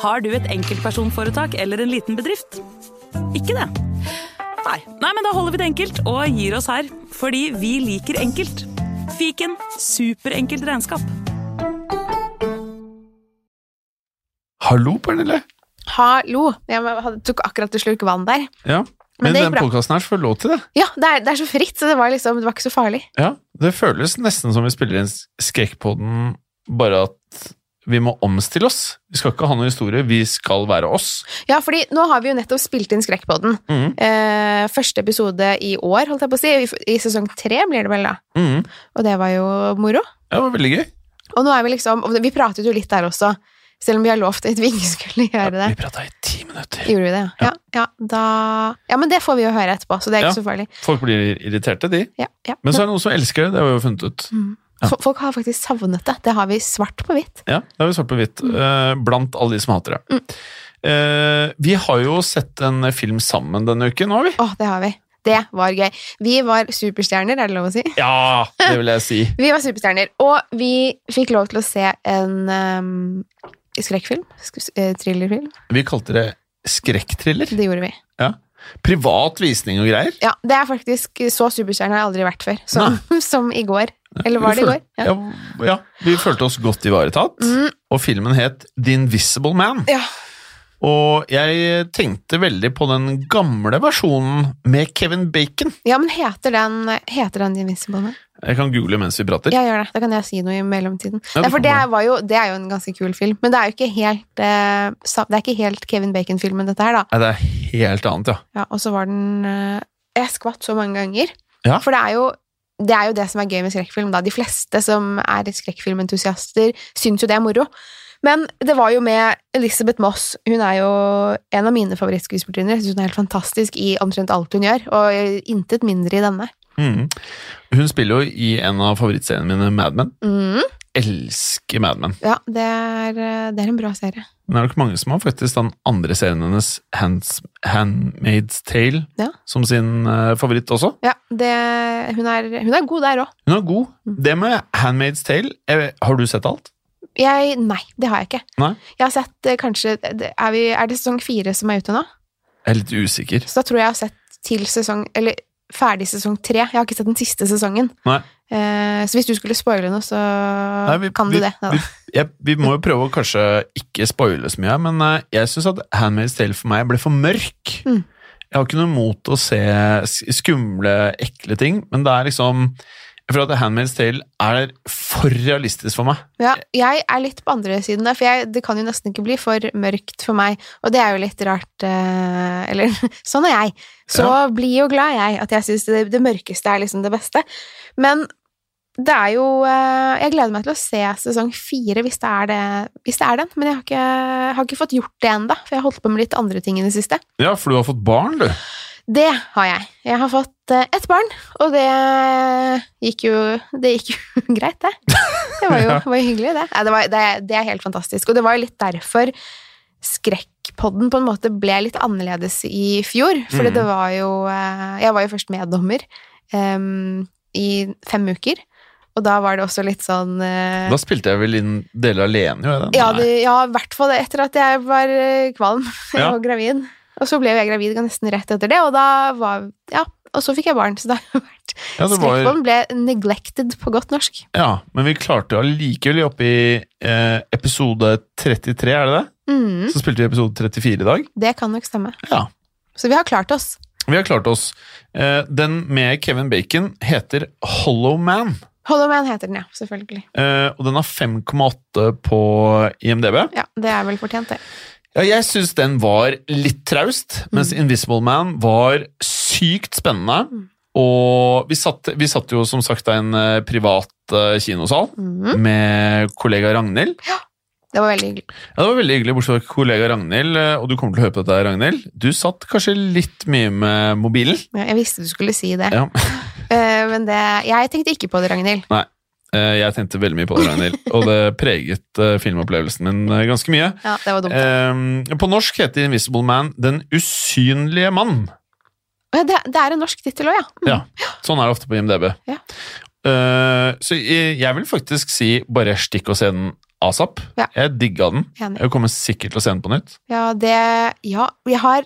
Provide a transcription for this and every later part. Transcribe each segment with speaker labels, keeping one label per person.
Speaker 1: Har du et enkeltpersonforetak eller en liten bedrift? Ikke det? Nei. Nei, men da holder vi det enkelt og gir oss her. Fordi vi liker enkelt. Fiken superenkelt regnskap.
Speaker 2: Hallo, Pernille.
Speaker 3: Hallo. Jeg hadde- tok akkurat en slurk vann der.
Speaker 2: Ja. Men,
Speaker 3: Men det
Speaker 2: den
Speaker 3: gikk bra.
Speaker 2: podkasten her får lov til det.
Speaker 3: Ja, det er, det er så fritt, så det var liksom, det var ikke så farlig.
Speaker 2: Ja. Det føles nesten som vi spiller inn Skrekkpodden, bare at vi må omstille oss. Vi skal ikke ha noen historie, vi skal være oss.
Speaker 3: Ja, fordi nå har vi jo nettopp spilt inn Skrekkpodden.
Speaker 2: Mhm,
Speaker 3: Eh, første episode i år, holdt jeg på å si. I, I sesong tre blir det vel, da.
Speaker 2: mhm.
Speaker 3: Og det var jo moro.
Speaker 2: Ja, det var veldig gøy.
Speaker 3: Og nå er vi liksom og Vi pratet jo litt der også, selv om vi har lovt at vi ikke skulle
Speaker 2: Ja,
Speaker 3: gjøre det.
Speaker 2: vi prata i ti minutter.
Speaker 3: Gjorde vi det, ja. Ja, ja, da, ja, men det får vi jo høre etterpå, så det er ikke
Speaker 2: Ja.
Speaker 3: så farlig.
Speaker 2: Folk blir irriterte, de.
Speaker 3: Ja, ja.
Speaker 2: Men så er det noen som elsker det, det har vi jo funnet ut.
Speaker 3: Mm.
Speaker 2: ja.
Speaker 3: Fo- Folk har faktisk savnet det. Det har vi svart på hvitt.
Speaker 2: Ja, det har vi svart på hvitt.
Speaker 3: Mm.
Speaker 2: eh, Blant alle de som hater det. Eh, Vi har jo sett en film sammen denne uken, har vi?
Speaker 3: Å, det har vi. Det var gøy. Vi var superstjerner, er det lov å si?
Speaker 2: Ja, det vil jeg si.
Speaker 3: Vi var superstjerner, og vi fikk lov til å se en ehm, skrekkfilm. Sk eh, thrillerfilm.
Speaker 2: Vi kalte det skrekkthriller.
Speaker 3: Det gjorde vi.
Speaker 2: Ja. Privat visning og greier.
Speaker 3: Ja, det er faktisk Så superstjerne har jeg aldri vært før. Som, som i går. Eller var det
Speaker 2: Vi
Speaker 3: i går? Mm.
Speaker 2: føl- Ja. ja, vi følte oss godt ivaretatt, og filmen het The Invisible Man.
Speaker 3: Ja.
Speaker 2: Og jeg tenkte veldig på den gamle versjonen med Kevin Bacon.
Speaker 3: ja, men heter den, heter den Invincible Man?
Speaker 2: Jeg kan google mens vi prater.
Speaker 3: Ja, gjør det. Da kan jeg si noe i mellomtiden.
Speaker 2: Ja,
Speaker 3: Nei,
Speaker 2: du
Speaker 3: for
Speaker 2: kan
Speaker 3: det,
Speaker 2: bare-
Speaker 3: var jo, det er jo en ganske kul film, men det er jo ikke helt, eh, sa- det er ikke helt Kevin Bacon-filmen, dette her, da.
Speaker 2: Nei, det er helt annet, ja.
Speaker 3: Ja, og så var den eh, Jeg skvatt så mange ganger.
Speaker 2: Ja.
Speaker 3: For det er, jo, det er jo det som er gøy med skrekkfilm. Da. De fleste som er skrekkfilmentusiaster, syns jo det er moro. Men det var jo med Elizabeth Moss. Hun er jo en av mine favorittskuespillerinner. Jeg synes Hun er helt fantastisk i omtrent alt hun gjør, og intet mindre i denne.
Speaker 2: Mhm. Hun spiller jo i en av favorittseriene mine, Mad Men.
Speaker 3: Mm.
Speaker 2: Elsker Mad Men.
Speaker 3: Ja, det er, eh, det er en bra serie.
Speaker 2: Men det er nok mange som har faktisk den andre serien hennes, Hands, Handmaid's Tale,
Speaker 3: Ja.
Speaker 2: som sin eh, favoritt også.
Speaker 3: Ja, det, hun, er, hun er god der òg.
Speaker 2: Hun er god.
Speaker 3: Mm.
Speaker 2: Det med Handmaid's Tale jeg, vet- Har du sett alt?
Speaker 3: Jeg Nei, det har jeg ikke.
Speaker 2: Nei?
Speaker 3: Jeg har sett eh, kanskje Er, vi, er det sesong fire som er ute nå?
Speaker 2: Jeg er litt usikker.
Speaker 3: Så da tror jeg jeg har sett til sesong Eller ferdig sesong tre. Jeg har ikke sett den siste sesongen.
Speaker 2: Nei.
Speaker 3: Eh, så hvis du skulle spoile noe, så
Speaker 2: Nei, vi-
Speaker 3: kan
Speaker 2: vi-
Speaker 3: du det. Neida.
Speaker 2: Vi, jeg, vi må jo prøve å kanskje ikke spoile så mye, men eh, jeg syns at Handmaid's Tale for meg ble for mørk.
Speaker 3: Mm.
Speaker 2: Jeg har ikke noe imot å se sk- skumle, ekle ting, men det er liksom Jeg føler at Handmaid's Tale er for realistisk for meg.
Speaker 3: ja, jeg er litt på andre siden der, for jeg, det kan jo nesten ikke bli for mørkt for meg. Og det er jo litt rart eh, Eller sånn er jeg. Så blir jo glad jeg at jeg syns det, det mørkeste er liksom det beste. Men det er jo eh, Jeg gleder meg til å se sesong fire, hvis det er, det, hvis det er den. Men jeg har ikke, har ikke fått gjort det ennå, for jeg har holdt på med litt andre ting i det siste.
Speaker 2: Ja, for du har fått barn, du.
Speaker 3: Det har jeg. Jeg har fått eh, ett barn, og det gikk jo, det gikk jo greit, det. Det var jo,
Speaker 2: Ja.
Speaker 3: det var jo hyggelig, det. Nei, det, var, det. Det er helt fantastisk. Og det var jo litt derfor Skrekkpodden på en måte ble litt annerledes i fjor. For
Speaker 2: Mm.
Speaker 3: det var jo eh, Jeg var jo først meddommer em, i fem uker, og da var det også litt sånn eh,
Speaker 2: Da spilte jeg vel inn deler alene, jo. jeg, da.
Speaker 3: ja,
Speaker 2: Nei.
Speaker 3: det, ja, i hvert fall etter at jeg var eh, kvalm
Speaker 2: Ja.
Speaker 3: og gravid. Og så ble jo jeg gravid nesten rett etter det, og da var Ja, og så fikk jeg barn, så da har jeg vært
Speaker 2: ja, det var,
Speaker 3: Skrekkpodden ble neglected på godt norsk.
Speaker 2: Ja, men vi klarte allikevel oppe i eh, episode 33, er det det?
Speaker 3: Mm,
Speaker 2: Så spilte vi episode 34 i dag.
Speaker 3: det kan nok stemme.
Speaker 2: Ja.
Speaker 3: Så vi har klart oss.
Speaker 2: Vi har klart oss. Eh, den med Kevin Bacon heter Hollow Man,
Speaker 3: Hollow Man heter den, ja. Selvfølgelig.
Speaker 2: eh, og den har 5,8 på IMDb.
Speaker 3: Ja, Det er vel fortjent, det.
Speaker 2: Ja, jeg syns den var litt traust,
Speaker 3: Mm.
Speaker 2: mens Invisible Man var sykt spennende.
Speaker 3: Mm.
Speaker 2: Og vi satt, vi satt jo som sagt i en eh, privat eh, kinosal
Speaker 3: Mm,
Speaker 2: med kollega Ragnhild.
Speaker 3: det var veldig hyggelig.
Speaker 2: Ja, Det var veldig hyggelig, bortsett fra kollega Ragnhild, eh, og du kommer til å høre på dette, Ragnhild. Du satt kanskje litt mye med mobilen.
Speaker 3: Ja, Jeg visste du skulle si det.
Speaker 2: Ja.
Speaker 3: Eh, men det Jeg tenkte ikke på det, Ragnhild.
Speaker 2: Eh, Jeg tenkte veldig mye på det, Ragnhild, og det preget eh, filmopplevelsen min eh, ganske mye.
Speaker 3: Ja, det var dumt.
Speaker 2: Eh, På norsk heter Invisible Man Den usynlige mann.
Speaker 3: Å, ja, det, det er en norsk tittel òg, ja. Mm.
Speaker 2: Ja, sånn er det ofte på IMDb.
Speaker 3: Ja.
Speaker 2: Eh, Så jeg jeg vil faktisk si, bare stikk og se den asap.
Speaker 3: Ja.
Speaker 2: Jeg digga den.
Speaker 3: Enig.
Speaker 2: Jeg kommer sikkert til å se den på nytt.
Speaker 3: Ja, det Ja, jeg har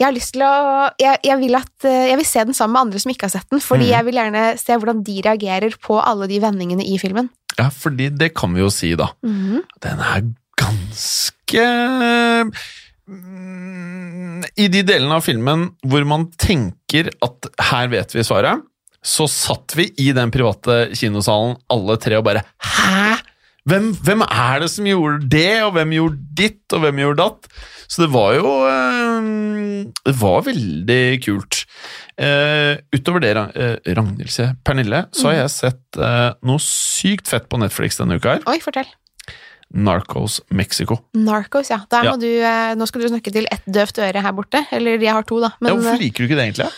Speaker 3: jeg har lyst til å jeg, jeg, vil at, eh, jeg vil se den sammen med andre som ikke har sett den, fordi
Speaker 2: Mhm.
Speaker 3: jeg vil gjerne se hvordan de reagerer på alle de vendingene i filmen.
Speaker 2: Ja, fordi det kan vi jo si, da.
Speaker 3: Mhm.
Speaker 2: Den er ganske mm, I de delene av filmen hvor man tenker at her vet vi svaret, så satt vi i den private kinosalen alle tre og bare Hæ?! Hvem, hvem er det som gjorde det, og hvem gjorde ditt, og hvem gjorde datt? Så det var jo eh, Det var veldig kult. Eh, utover det, Ra- eh, Ragnhild, sier jeg. Pernille, så har jeg sett eh, noe sykt fett på Netflix denne uka her.
Speaker 3: Oi, fortell.
Speaker 2: Narcos Mexico.
Speaker 3: Narcos, ja. Der
Speaker 2: Ja.
Speaker 3: Må du, eh, nå skal du snakke til ett døvt øre her borte. Eller jeg har to, da.
Speaker 2: ja,
Speaker 3: Men
Speaker 2: hvorfor
Speaker 3: eh,
Speaker 2: liker du ikke det egentlig?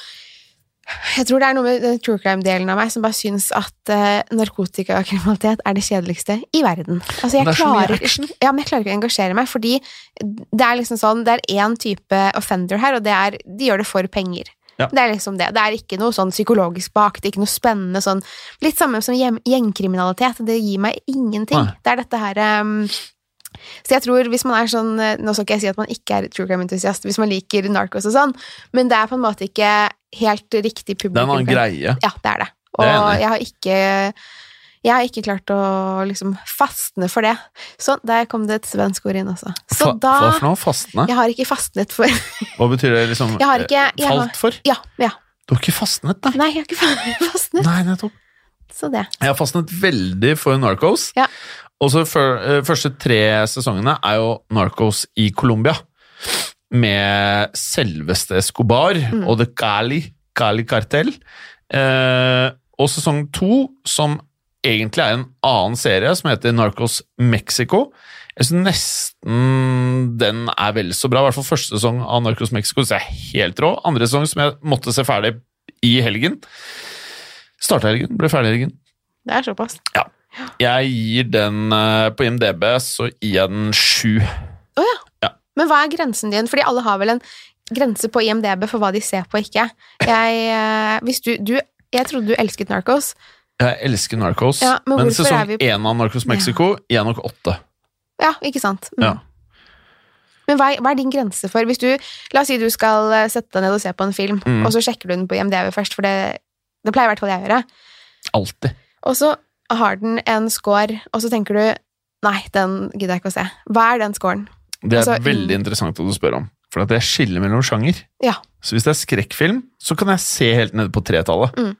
Speaker 3: jeg tror det er noe med den true crime-delen av meg som bare syns at eh, narkotikakriminalitet er det kjedeligste i verden. Altså, jeg
Speaker 2: Det er så mye
Speaker 3: klarer, ikke- ja, men jeg klarer ikke å engasjere meg, fordi det er liksom sånn Det er én type offender her, og det er De gjør det for penger.
Speaker 2: Ja.
Speaker 3: Det er liksom det. Det er ikke noe sånn psykologisk bak, det er ikke noe spennende sånn Litt samme som hjem- gjengkriminalitet. Det gir meg ingenting.
Speaker 2: Nei.
Speaker 3: Det er dette her ehm, så jeg tror hvis man er sånn, eh, Nå skal ikke jeg si at man ikke er true crime-entusiast hvis man liker narkos og sånn, men det er på en måte ikke helt
Speaker 2: Det er
Speaker 3: riktig
Speaker 2: en
Speaker 3: publikum.
Speaker 2: annen greie.
Speaker 3: Ja, det er det. Og
Speaker 2: Det er jeg enig i.
Speaker 3: jeg har ikke jeg har ikke klart å liksom fastne for det. Så der kom det et svensk ord inn også. Så
Speaker 2: Fa-
Speaker 3: da
Speaker 2: Hva for noe? Fastne?
Speaker 3: Jeg har ikke fastnet for
Speaker 2: Hva betyr det? liksom?
Speaker 3: Jeg har ikke-
Speaker 2: eh,
Speaker 3: jeg har-
Speaker 2: Falt for?
Speaker 3: Ja, ja.
Speaker 2: Du har ikke fastnet, nei?
Speaker 3: Nei, jeg har ikke fa- fastnet.
Speaker 2: Nei, nettopp.
Speaker 3: Så det.
Speaker 2: Jeg har fastnet veldig for Narcos.
Speaker 3: Ja.
Speaker 2: Og så for, eh, første tre sesongene er jo Narcos i Colombia. Med selveste Escobar og The Cali, Cali Cartel. Eh, og sesong to, som egentlig er en annen serie, som heter Narcos Mexico. Jeg synes nesten den er vel så bra. I hvert fall første sesong av Narcos Mexico så er helt rå. Andre sesong som jeg måtte se ferdig i helgen. Starta helgen, ble ferdig helgen.
Speaker 3: Det er såpass.
Speaker 2: Jeg gir den eh, på IMDb, så gir jeg den sju.
Speaker 3: Men hva er grensen din? Fordi alle har vel en grense på IMDb for hva de ser på og ikke. Jeg, eh, hvis du, du, jeg trodde du elsket Narcos.
Speaker 2: Jeg elsker Narcos,
Speaker 3: Ja, men
Speaker 2: men
Speaker 3: hvorfor er
Speaker 2: sesong
Speaker 3: vi-
Speaker 2: én av Narcos Mexico gir jeg nok åtte.
Speaker 3: Ja, ikke sant? Mm.
Speaker 2: Ja.
Speaker 3: Men hva er, hva er din grense for Hvis du, La oss si du skal eh, sette deg ned og se på en film,
Speaker 2: Mm.
Speaker 3: og så sjekker du den på IMDb først, for det, det pleier i hvert fall jeg å gjøre.
Speaker 2: Alltid.
Speaker 3: Og så har den en score, og så tenker du Nei, den gidder jeg ikke å se. Hva er den scoren?
Speaker 2: Det er
Speaker 3: Altså, mm.
Speaker 2: veldig interessant at du spør om, for at jeg skiller mellom sjanger.
Speaker 3: Ja.
Speaker 2: Så hvis det er skrekkfilm, så kan jeg se helt nede på tretallet.
Speaker 3: Mm.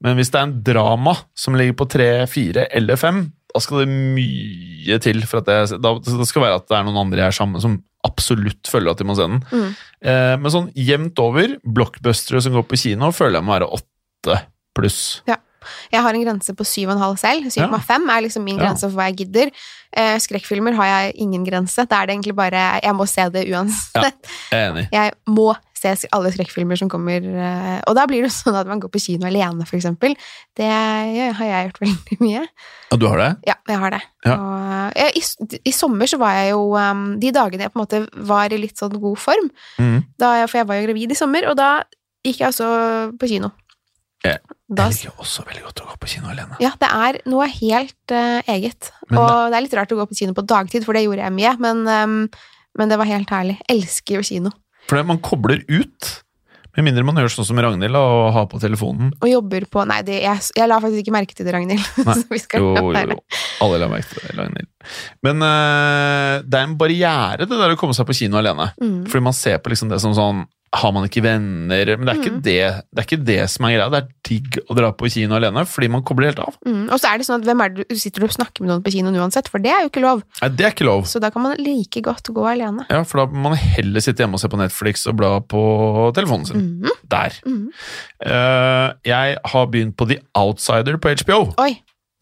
Speaker 2: Men hvis det er en drama som ligger på tre, fire eller fem, da skal det mye til. For at jeg, da, det skal være at det er noen andre jeg er sammen med som absolutt føler at de må se den.
Speaker 3: Mm.
Speaker 2: Eh, men sånn jevnt over, blockbustere som går på kino, føler jeg må være åtte pluss.
Speaker 3: Jeg har en grense på 7,5 selv. 7,5 er liksom min
Speaker 2: Ja.
Speaker 3: grense for hva jeg gidder. Eh, Skrekkfilmer har jeg ingen grense. Da er det egentlig bare Jeg må se det uansett.
Speaker 2: Jeg er enig.
Speaker 3: Jeg må se sk- alle skrekkfilmer som kommer. eh, Og da blir det jo sånn at man går på kino alene, for eksempel. Det har jeg gjort veldig mye.
Speaker 2: Ja, du har det?
Speaker 3: Ja, jeg har det.
Speaker 2: Ja.
Speaker 3: Og, eh, i, s- I sommer så var jeg jo um, De dagene jeg på en måte var i litt sånn god form,
Speaker 2: Mm.
Speaker 3: da jeg, for jeg var jo gravid i sommer, og da gikk jeg altså på kino.
Speaker 2: Ja.
Speaker 3: Da,
Speaker 2: jeg liker jo også veldig godt å gå på kino alene.
Speaker 3: ja, det er noe helt eh, eget.
Speaker 2: Men
Speaker 3: og det er litt rart å gå på kino på dagtid, for det gjorde jeg mye, men, ehm, men det var helt herlig. Elsker jo kino.
Speaker 2: For det- man kobler ut. Med mindre man gjør sånn som Ragnhild da, og har på telefonen.
Speaker 3: Og jobber på Nei, det, jeg, jeg la faktisk ikke merke til det, Ragnhild.
Speaker 2: Nei.
Speaker 3: Så vi skal
Speaker 2: Jo,
Speaker 3: la
Speaker 2: jo,
Speaker 3: være.
Speaker 2: jo. Alle la merke til det. Ragnhild. Men eh, det er en barriere, det der å komme seg på kino alene.
Speaker 3: Mm.
Speaker 2: Fordi man ser på liksom det som sånn Har man ikke venner? Men det er ikke,
Speaker 3: Mm.
Speaker 2: det, det, er ikke det som er greia. Det er digg å dra på kino alene fordi man kobler helt av.
Speaker 3: Mm. Og så er det sånn at hvem er det du sitter og snakker med noen på kinoen uansett, for det er jo ikke lov.
Speaker 2: Nei, det er ikke lov.
Speaker 3: Så da kan man like godt gå alene.
Speaker 2: Ja, For da må man heller sitte hjemme og se på Netflix og bla på telefonen sin.
Speaker 3: Mhm.
Speaker 2: Der.
Speaker 3: Mhm.
Speaker 2: Eh, jeg har begynt på The Outsider på HBO.
Speaker 3: Oi.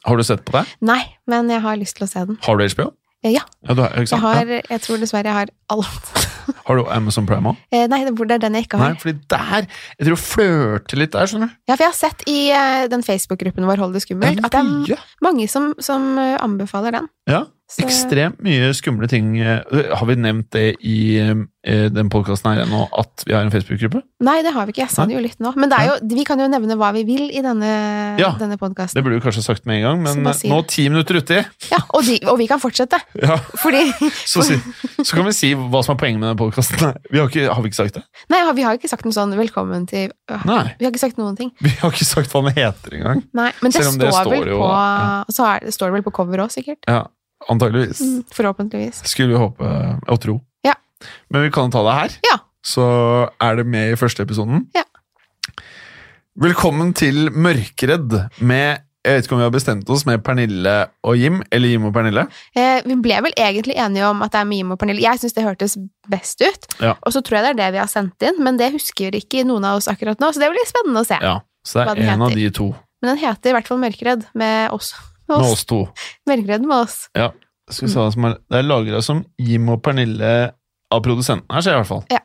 Speaker 2: Har du sett på det?
Speaker 3: Nei, men jeg har lyst til å se den.
Speaker 2: Har du HBO?
Speaker 3: Eh, Ja.
Speaker 2: Ja, du har, ikke
Speaker 3: Jeg
Speaker 2: sant?
Speaker 3: har, jeg tror dessverre jeg har alt.
Speaker 2: ja. har du Amazon Prime òg?
Speaker 3: Eh, Nei, det hvor det er den jeg ikke
Speaker 2: Nei,
Speaker 3: har.
Speaker 2: fordi der Jeg tror flørter litt der, skjønner du.
Speaker 3: Ja, for jeg har sett i eh, den Facebook-gruppen vår Hold det
Speaker 2: Det
Speaker 3: skummelt,
Speaker 2: er
Speaker 3: at det er
Speaker 2: mye.
Speaker 3: mange som, som eh, anbefaler den.
Speaker 2: Ja,
Speaker 3: Så-
Speaker 2: Ekstremt mye skumle ting. eh, Har vi nevnt det i eh, den podkasten her ennå, at vi har en Facebook-gruppe?
Speaker 3: Nei, det har vi ikke. Jeg sa det jo litt nå. Men det er jo, vi kan jo nevne hva vi vil i denne,
Speaker 2: Ja,
Speaker 3: denne
Speaker 2: Det
Speaker 3: podkasten.
Speaker 2: burde vi kanskje sagt med en gang,
Speaker 3: Så
Speaker 2: men eh,
Speaker 3: bare si
Speaker 2: nå
Speaker 3: det.
Speaker 2: ti minutter uti,
Speaker 3: Ja, og, de, og vi kan fortsette.
Speaker 2: ja,
Speaker 3: Fordi
Speaker 2: så, si, så kan vi si hva som er poenget med den podkasten. Vi har ikke, har vi ikke sagt det?
Speaker 3: Nei, vi har ikke sagt noe sånn 'velkommen til
Speaker 2: Nei.
Speaker 3: Vi har ikke sagt noen ting.
Speaker 2: Vi har ikke sagt hva den heter engang.
Speaker 3: Nei, men det,
Speaker 2: Selv om
Speaker 3: står,
Speaker 2: det står
Speaker 3: vel
Speaker 2: jo-
Speaker 3: på
Speaker 2: ja.
Speaker 3: Og så er, det står det vel på cover òg, sikkert.
Speaker 2: Ja, antageligvis.
Speaker 3: Mm, Forhåpentligvis.
Speaker 2: Skulle vi håpe og tro.
Speaker 3: Ja.
Speaker 2: Men vi kan ta det her.
Speaker 3: Ja.
Speaker 2: Så er det med i første episoden.
Speaker 3: Ja.
Speaker 2: Velkommen til Mørkredd med jeg vet ikke om vi har bestemt oss med Pernille og Jim, eller Jim og Pernille.
Speaker 3: Eh, vi ble vel egentlig enige om at det er Mime og Pernille. Jeg syns det hørtes best ut.
Speaker 2: Ja.
Speaker 3: Og så tror jeg det er det vi har sendt inn, men det husker ikke noen av oss akkurat nå. Så det blir spennende å se.
Speaker 2: Ja, Så
Speaker 3: Hva
Speaker 2: det
Speaker 3: den
Speaker 2: er en av
Speaker 3: heter.
Speaker 2: de to.
Speaker 3: Men den heter i hvert fall Mørkredd med oss. Med
Speaker 2: Med
Speaker 3: oss.
Speaker 2: oss to.
Speaker 3: Mørkredd med oss.
Speaker 2: Skal vi se hva som er, det er lagra som Jim og Pernille av produsenten her, ser jeg i hvert fall.
Speaker 3: Ja.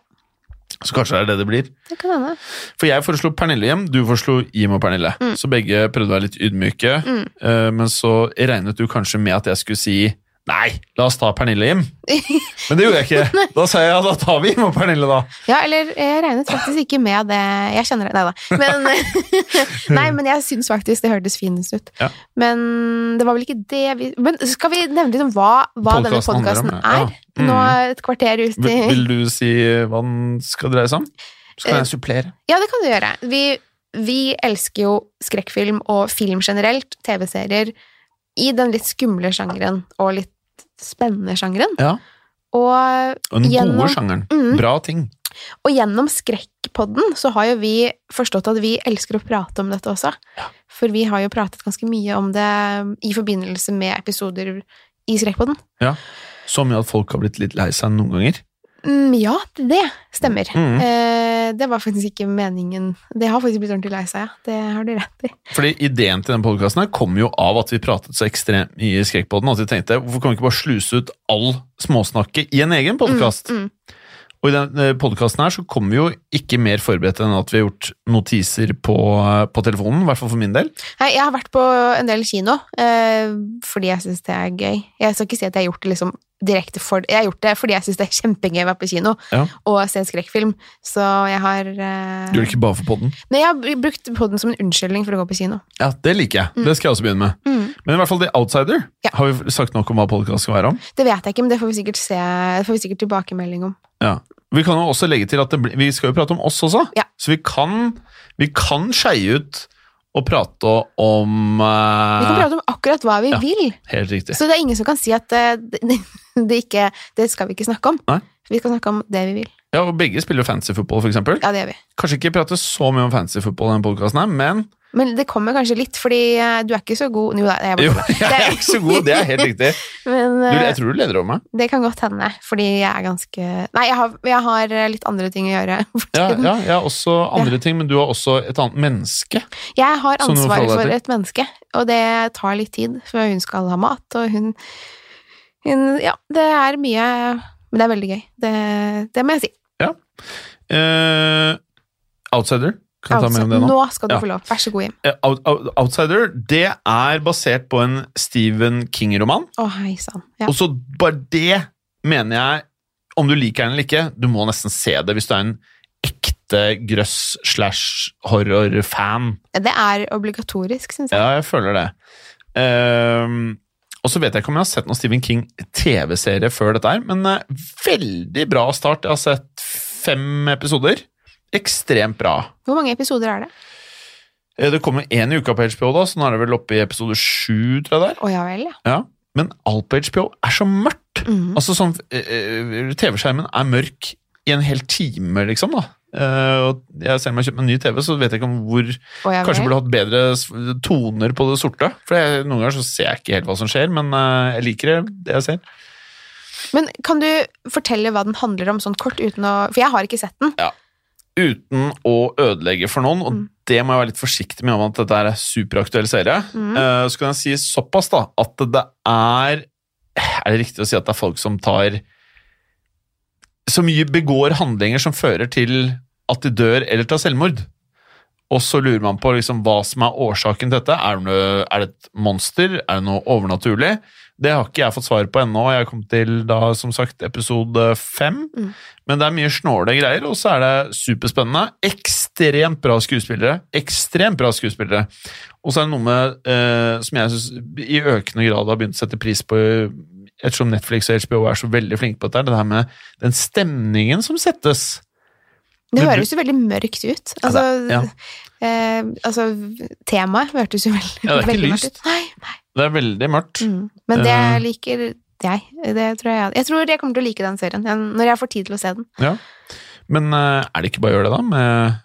Speaker 2: Så kanskje det er det det blir.
Speaker 3: Det kan hende.
Speaker 2: For jeg foreslo Pernille hjem, du foreslo Jim og Pernille.
Speaker 3: Mm.
Speaker 2: Så begge prøvde å være litt ydmyke.
Speaker 3: Mm.
Speaker 2: eh, Men så regnet du kanskje med at jeg skulle si Nei, la oss ta Pernille hjem. Men det gjorde jeg ikke. Da sa jeg ja, da tar vi Jim og Pernille, da.
Speaker 3: Ja, eller jeg regnet faktisk ikke med det Jeg kjenner det Nei da. Men, nei, men jeg syns faktisk det hørtes finest ut.
Speaker 2: Ja.
Speaker 3: Men det var vel ikke det vi Men skal vi nevne litt om hva, hva denne
Speaker 2: Podcasten handler om
Speaker 3: podkasten
Speaker 2: det,
Speaker 3: er?
Speaker 2: ja. Mm.
Speaker 3: Nå et kvarter ut i
Speaker 2: Vil, vil du si hva den skal dreie seg om? Så
Speaker 3: Eh,
Speaker 2: kan jeg supplere.
Speaker 3: Ja, det kan du gjøre. Vi, vi elsker jo skrekkfilm og film generelt, TV-serier, i den litt skumle sjangeren og litt spennende sjangeren.
Speaker 2: Ja.
Speaker 3: Og
Speaker 2: Og den
Speaker 3: gjennom-
Speaker 2: gode sjangeren.
Speaker 3: mm,
Speaker 2: Bra ting.
Speaker 3: Og gjennom Skrekkpodden så har jo vi forstått at vi elsker å prate om dette også. For vi har jo pratet ganske mye om det i forbindelse med episoder i Skrekkpodden.
Speaker 2: Så mye at folk har blitt litt lei seg noen ganger.
Speaker 3: Mm, ja, det stemmer.
Speaker 2: Mm.
Speaker 3: Eh, det var faktisk ikke meningen. Det har faktisk blitt ordentlig lei seg, ja. Det har du rett i.
Speaker 2: Fordi ideen til den podkasten kom jo av at vi pratet så ekstremt mye i Skrekkpodden at vi tenkte hvorfor kan vi ikke bare sluse ut all småsnakket i en egen podkast?
Speaker 3: Mm, mm.
Speaker 2: Og i den podkasten her så kommer vi jo ikke mer forberedt enn at vi har gjort notiser på, eh, på telefonen, i hvert fall for min del.
Speaker 3: Nei, jeg har vært på en del kino eh, fordi jeg syns det er gøy. Jeg skal ikke si at jeg har gjort det liksom direkte for Jeg har gjort det fordi jeg syns det er kjempegøy å være på kino
Speaker 2: Ja.
Speaker 3: og se skrekkfilm. Så jeg har eh,
Speaker 2: Gjør det ikke bare for podden.
Speaker 3: Nei, jeg har br- brukt podden som en unnskyldning for å gå på kino.
Speaker 2: Ja, det liker jeg. Det skal jeg også begynne med. Men i hvert fall The Outsider
Speaker 3: Ja.
Speaker 2: har vi sagt nok om hva podkast skal være om.
Speaker 3: Det vet jeg ikke, men det får vi sikkert, se, det får vi sikkert tilbakemelding om.
Speaker 2: Ja. Vi kan jo også legge til at det blir, vi skal jo prate om oss også,
Speaker 3: Ja.
Speaker 2: så vi kan, vi kan skeie ut og prate om eh,
Speaker 3: Vi kan prate om akkurat hva vi
Speaker 2: Ah. ja.
Speaker 3: vil,
Speaker 2: Helt riktig.
Speaker 3: så det er ingen som kan si at eh, det, det, ikke, det skal vi ikke snakke om.
Speaker 2: Nei.
Speaker 3: Vi skal snakke om det vi vil.
Speaker 2: Ja, og Begge spiller fancy football, for eksempel.
Speaker 3: Ja, det gjør vi.
Speaker 2: Kanskje ikke prate så mye om fancy football i denne podkasten, men
Speaker 3: Men det kommer kanskje litt, fordi eh, du er ikke så god Jo da, jeg
Speaker 2: jo,
Speaker 3: bare
Speaker 2: jeg er ikke så god. Det er helt riktig.
Speaker 3: Men
Speaker 2: Du,
Speaker 3: eh,
Speaker 2: jeg tror du leder over meg.
Speaker 3: det kan godt hende, fordi jeg er ganske Nei, jeg har, jeg har litt andre ting å gjøre. for
Speaker 2: Ja,
Speaker 3: tiden.
Speaker 2: ja, jeg har også andre ting, men du har også et annet menneske.
Speaker 3: Jeg har
Speaker 2: Så nå får
Speaker 3: ansvaret
Speaker 2: alle
Speaker 3: for
Speaker 2: etter.
Speaker 3: et menneske, og det tar litt tid, for hun skal ha mat, og hun, hun Ja, det er mye Men det er veldig gøy. Det, det må jeg si.
Speaker 2: Eh, outsider. Kan jeg ta med om det
Speaker 3: Altså,
Speaker 2: nå?
Speaker 3: skal du
Speaker 2: Ja.
Speaker 3: få lov. Vær så god, Jim.
Speaker 2: Eh, Out, out, outsider det er basert på en Stephen King-roman.
Speaker 3: Å, hei sann. Ja.
Speaker 2: Og så bare det mener jeg, om du liker den eller ikke, du må nesten se det hvis du er en ekte grøss slash horror-fan.
Speaker 3: Det er obligatorisk, syns jeg.
Speaker 2: Ja, jeg føler det. Ehm, og så vet jeg ikke om jeg har sett noen Stephen King-TV-serie før dette her, men eh, veldig bra start. Jeg har sett fem episoder. Ekstremt bra.
Speaker 3: Hvor mange episoder er det?
Speaker 2: Eh, Det kommer én i uka på HBO, da, så nå er det vel oppe i episode sju, tror jeg det er.
Speaker 3: Å ja vel, ja.
Speaker 2: Ja. Men alt på HBO er så mørkt.
Speaker 3: Mhm.
Speaker 2: Altså sånn eh, eh, TV-skjermen er mørk i en hel time, liksom, da. Eh, og jeg, selv om jeg har kjøpt meg en ny TV, så vet jeg ikke om hvor
Speaker 3: Å, ja
Speaker 2: Kanskje
Speaker 3: vel.
Speaker 2: burde hatt bedre s- toner på det sorte. For jeg, noen ganger så ser jeg ikke helt hva som skjer, men eh, jeg liker det, det jeg ser.
Speaker 3: Men kan du fortelle hva den handler om, sånn kort, uten å For jeg har ikke sett den.
Speaker 2: Uten å ødelegge for noen, og
Speaker 3: Mm.
Speaker 2: det må jeg være litt forsiktig med om at dette er en superaktuell serie.
Speaker 3: Mm.
Speaker 2: Eh, så kan jeg si såpass, da, at det er Er det riktig å si at det er folk som tar Som mye begår handlinger som fører til at de dør eller tar selvmord. Og så lurer man på liksom hva som er årsaken til dette. Er det, noe, er det et monster? Er det noe overnaturlig? Det har ikke jeg fått svar på ennå. Jeg kom til da, som sagt, episode fem.
Speaker 3: Mm.
Speaker 2: Men det er mye snåle greier, og så er det superspennende. Ekstremt bra skuespillere. Ekstremt bra skuespillere. Og så er det noe med, eh, som jeg synes i økende grad har begynt å sette pris på, ettersom Netflix og HBO er så veldig flinke på dette, er det her med den stemningen som settes.
Speaker 3: Det
Speaker 2: Men du-
Speaker 3: høres jo veldig mørkt ut.
Speaker 2: Ja,
Speaker 3: Altså,
Speaker 2: det- ja.
Speaker 3: eh, altså temaet hørtes jo veldig,
Speaker 2: Ja, det er ikke
Speaker 3: veldig mørkt
Speaker 2: lyst.
Speaker 3: ut. Nei, nei.
Speaker 2: Det er veldig mørkt.
Speaker 3: Mm. Men det
Speaker 2: Eh.
Speaker 3: liker jeg. Det tror jeg, jeg tror jeg kommer til å like den serien jeg- når jeg får tid til å se den.
Speaker 2: Men eh, er det ikke bare å gjøre det, da? Med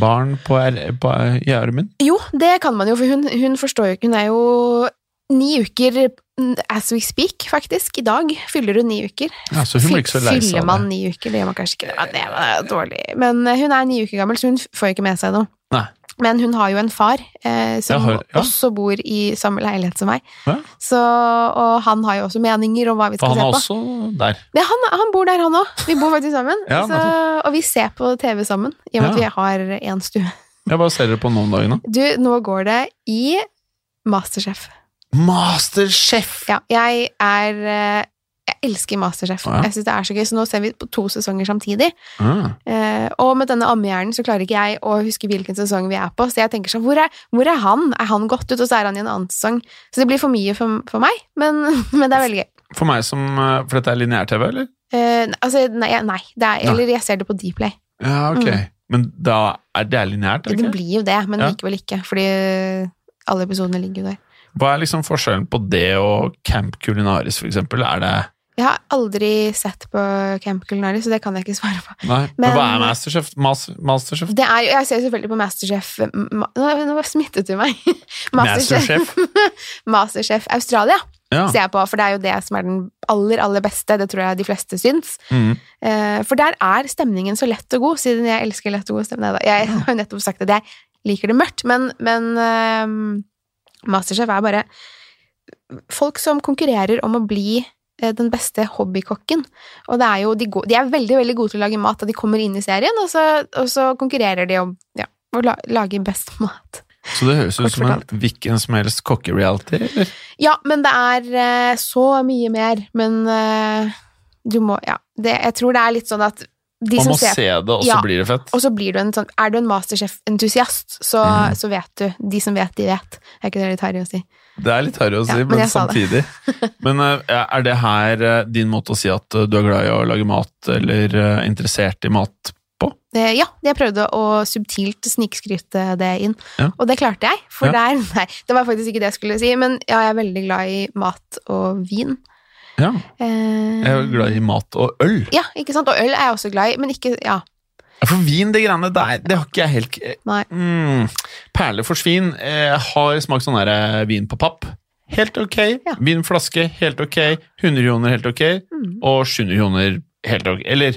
Speaker 2: barn på, er- på, i armen?
Speaker 3: Jo, det kan man jo, for hun, hun forstår jo ikke. Hun er jo ni uker mm, as we speak, faktisk. I dag fyller hun ni uker.
Speaker 2: Ja, så Altså, hun blir ikke så lei seg
Speaker 3: Fyller
Speaker 2: av
Speaker 3: man
Speaker 2: det.
Speaker 3: ni uker? Det gjør man kanskje ikke. Ja, det var dårlig. Men eh, hun er ni uker gammel, så hun f- får jo ikke med seg noe.
Speaker 2: Nei.
Speaker 3: Men hun har jo en far eh, som
Speaker 2: Jeg har- ja.
Speaker 3: også bor i samme leilighet som meg.
Speaker 2: Ja.
Speaker 3: Så, og han har jo også meninger om hva vi
Speaker 2: For han
Speaker 3: skal se
Speaker 2: er
Speaker 3: på.
Speaker 2: også der.
Speaker 3: Ja, han, han bor der, han òg. Vi bor faktisk sammen.
Speaker 2: Ja,
Speaker 3: så, og vi ser på TV sammen, i og med at vi har én stue.
Speaker 2: Jeg bare ser det på noen dager nå.
Speaker 3: Du, nå går det i Masterchef.
Speaker 2: Masterchef!
Speaker 3: Ja, jeg er eh, Jeg elsker Masterchef.
Speaker 2: Å, ja.
Speaker 3: Jeg syns det er så gøy, så nå ser vi på to sesonger samtidig.
Speaker 2: Ah,
Speaker 3: Eh, og med denne ammehjernen så klarer ikke jeg å huske hvilken sesong vi er på, så jeg tenker sånn hvor er, hvor er han? Er han gått ut, og så er han i en annen sesong? Så det blir for mye for, for meg, men, men det er veldig gøy.
Speaker 2: For meg som eh, For dette er lineær-TV, eller?
Speaker 3: Eh, altså, nei, nei det er, eller jeg ser det på Dplay.
Speaker 2: Ja, ok. Mm. Men da er det er lineært? er det
Speaker 3: Det
Speaker 2: ikke?
Speaker 3: blir jo det, men
Speaker 2: Ja.
Speaker 3: likevel ikke, fordi alle episodene ligger jo der.
Speaker 2: Hva er liksom forskjellen på det og Camp Culinaris, for eksempel? Er det
Speaker 3: Jeg har aldri sett på Camp Culinary, så det kan jeg ikke svare på.
Speaker 2: Nei. Men,
Speaker 3: Men-
Speaker 2: hva er Masterchef? Mas Masterchef?
Speaker 3: Det er, jo- jeg ser jo selvfølgelig på Masterchef m- ma- Nå nå smittet du meg.
Speaker 2: Masterchef? Ah.
Speaker 3: Masterchef Australia
Speaker 2: Ja.
Speaker 3: ser jeg på, for det er jo det som er den aller, aller beste. Det tror jeg de fleste syns.
Speaker 2: Mm.
Speaker 3: Eh, For der er stemningen så lett og god, siden jeg elsker lett og god stemning. Neida, Jeg har jo nettopp sagt at jeg liker det mørkt, men, men ehm, Masterchef er bare folk som konkurrerer om å bli eh, den beste hobbykokken. Og det er jo, de, go- de er veldig veldig gode til å lage mat da de kommer inn i serien, og så, og så konkurrerer de om ja, å la, lage best mat.
Speaker 2: Så det høres ut
Speaker 3: Kort
Speaker 2: som en hvilken som helst kokkereality, eller?
Speaker 3: Ja, men det er eh, så mye mer. Men eh, du må Ja. Det, jeg tror det er litt sånn at de
Speaker 2: Man
Speaker 3: som
Speaker 2: må
Speaker 3: ser
Speaker 2: se det, og så
Speaker 3: Ja.
Speaker 2: blir det fett.
Speaker 3: Og så blir du en sånn Er du en Masterchef-entusiast, så,
Speaker 2: Mm.
Speaker 3: så vet du. De som vet, de vet. Er ikke det litt harry å si?
Speaker 2: Det er litt harry å si,
Speaker 3: Ja, men
Speaker 2: men,
Speaker 3: jeg sa
Speaker 2: samtidig. men eh, er det her eh, din måte å si at eh, du er glad i å lage mat, eller eh, interessert i mat?
Speaker 3: Eh, ja, jeg prøvde å subtilt snikskryte det inn,
Speaker 2: Ja.
Speaker 3: og det klarte jeg. For
Speaker 2: Ja.
Speaker 3: der Nei, det var faktisk ikke det jeg skulle si, men ja, jeg er veldig glad i mat og vin.
Speaker 2: Ja,
Speaker 3: Eh,
Speaker 2: jeg er jo glad i mat og øl.
Speaker 3: Ja, ikke sant. Og øl er jeg også glad i, men ikke Ja,
Speaker 2: Ja, For vin, det greiene der, det har ikke jeg helt eh,
Speaker 3: nei.
Speaker 2: mm, Perle for svin. Jeg har smakt sånn der eh, vin på papp. Helt ok.
Speaker 3: Ja.
Speaker 2: Vinflaske, helt ok. 100 kroner, helt ok.
Speaker 3: Mm.
Speaker 2: Og 700 kroner, helt ok. Eller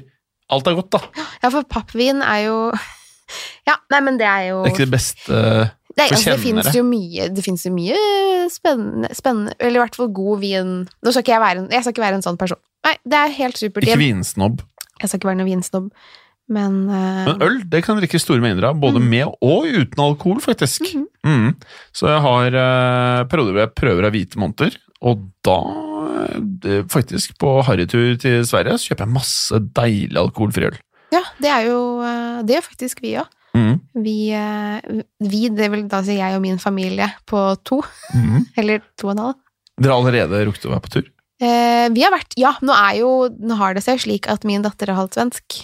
Speaker 2: alt er godt, da.
Speaker 3: Ja, for pappvin er jo Ja, nei, men det er jo
Speaker 2: Det er ikke det beste eh,
Speaker 3: Nei,
Speaker 2: for
Speaker 3: altså, det
Speaker 2: kjennere.
Speaker 3: finnes jo mye, det finnes jo mye spennende, spennende, eller i hvert fall god vin. Nå skal ikke jeg være en, jeg skal ikke være en sånn person. Nei, det er helt supert.
Speaker 2: Ikke
Speaker 3: Jeg,
Speaker 2: vinsnobb.
Speaker 3: jeg skal ikke være noen vinsnobb, men, eh,
Speaker 2: Men øl det kan drikke store mengder av,
Speaker 3: Mm.
Speaker 2: både med og uten alkohol, faktisk.
Speaker 3: Mm-hmm.
Speaker 2: Mm. Så jeg har eh, perioder hvor jeg prøver av hvite måneder, og da eh, det- faktisk på harrytur til Sverige så kjøper jeg masse deilig alkoholfri øl.
Speaker 3: ja, det er jo eh, Det gjør faktisk vi òg.
Speaker 2: Mm.
Speaker 3: Vi, eh, vi, det vil da si jeg og min familie på to,
Speaker 2: Mm.
Speaker 3: eller to og en halv.
Speaker 2: Dere har allerede rukket å være på tur?
Speaker 3: Eh, vi har vært Ja, nå er jo Nå har det seg slik at min datter er halvt svensk.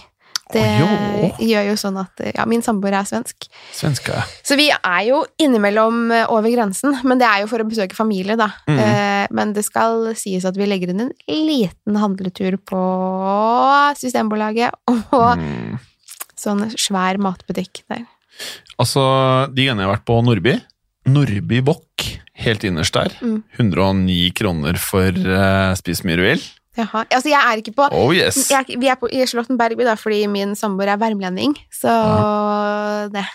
Speaker 3: Det
Speaker 2: Å,
Speaker 3: gjør jo sånn at eh, Ja, min samboer er svensk.
Speaker 2: Svenska, ja.
Speaker 3: Så vi er jo innimellom eh, over grensen, men det er jo for å besøke familie, da.
Speaker 2: Mhm.
Speaker 3: Eh, Men det skal sies at vi legger inn en liten handletur på Systembolaget og
Speaker 2: Mm.
Speaker 3: sånn svær matbutikk der.
Speaker 2: Altså, de gangene jeg har vært på Nordby Nordby Wok, helt innerst der.
Speaker 3: Mm.
Speaker 2: 109 kroner for eh, spis mye du vil.
Speaker 3: Jaha. Altså, jeg er ikke på
Speaker 2: Oh yes!
Speaker 3: jeg, er ikke- Vi er på i Charlottenbergby, da, fordi min samboer er værmlending, så det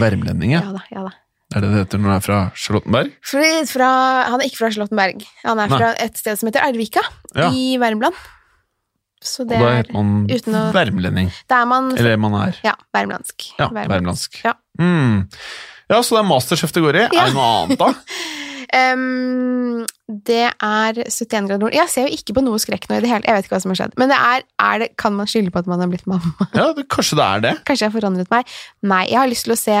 Speaker 2: Värmlending, ja.
Speaker 3: Ja da, ja da.
Speaker 2: Er det det heter når du er fra Charlottenberg?
Speaker 3: Fordi fra, han er ikke fra Charlottenberg. Han er
Speaker 2: Nei.
Speaker 3: fra et sted som heter Arvika,
Speaker 2: Ja.
Speaker 3: i Värmland. Så det
Speaker 2: og da
Speaker 3: er
Speaker 2: heter man
Speaker 3: uten å-
Speaker 2: værmlending.
Speaker 3: Der er man
Speaker 2: Eller man er.
Speaker 3: Ja, värmlandsk.
Speaker 2: Ja,
Speaker 3: Värmland.
Speaker 2: værmlandsk.
Speaker 3: Ja.
Speaker 2: Mm. ja, så det er masterchef det går i.
Speaker 3: Ja.
Speaker 2: Er det noe annet, da?
Speaker 3: Ehm, det er 71 grader nord. Jeg ser jo ikke på noe skrekk nå i det hele Jeg vet ikke hva som har skjedd. Men det er, er det, kan man skylde på at man har blitt mamma?
Speaker 2: Ja, det, kanskje det er det.
Speaker 3: Kanskje jeg har forandret meg? Nei, jeg har lyst til å se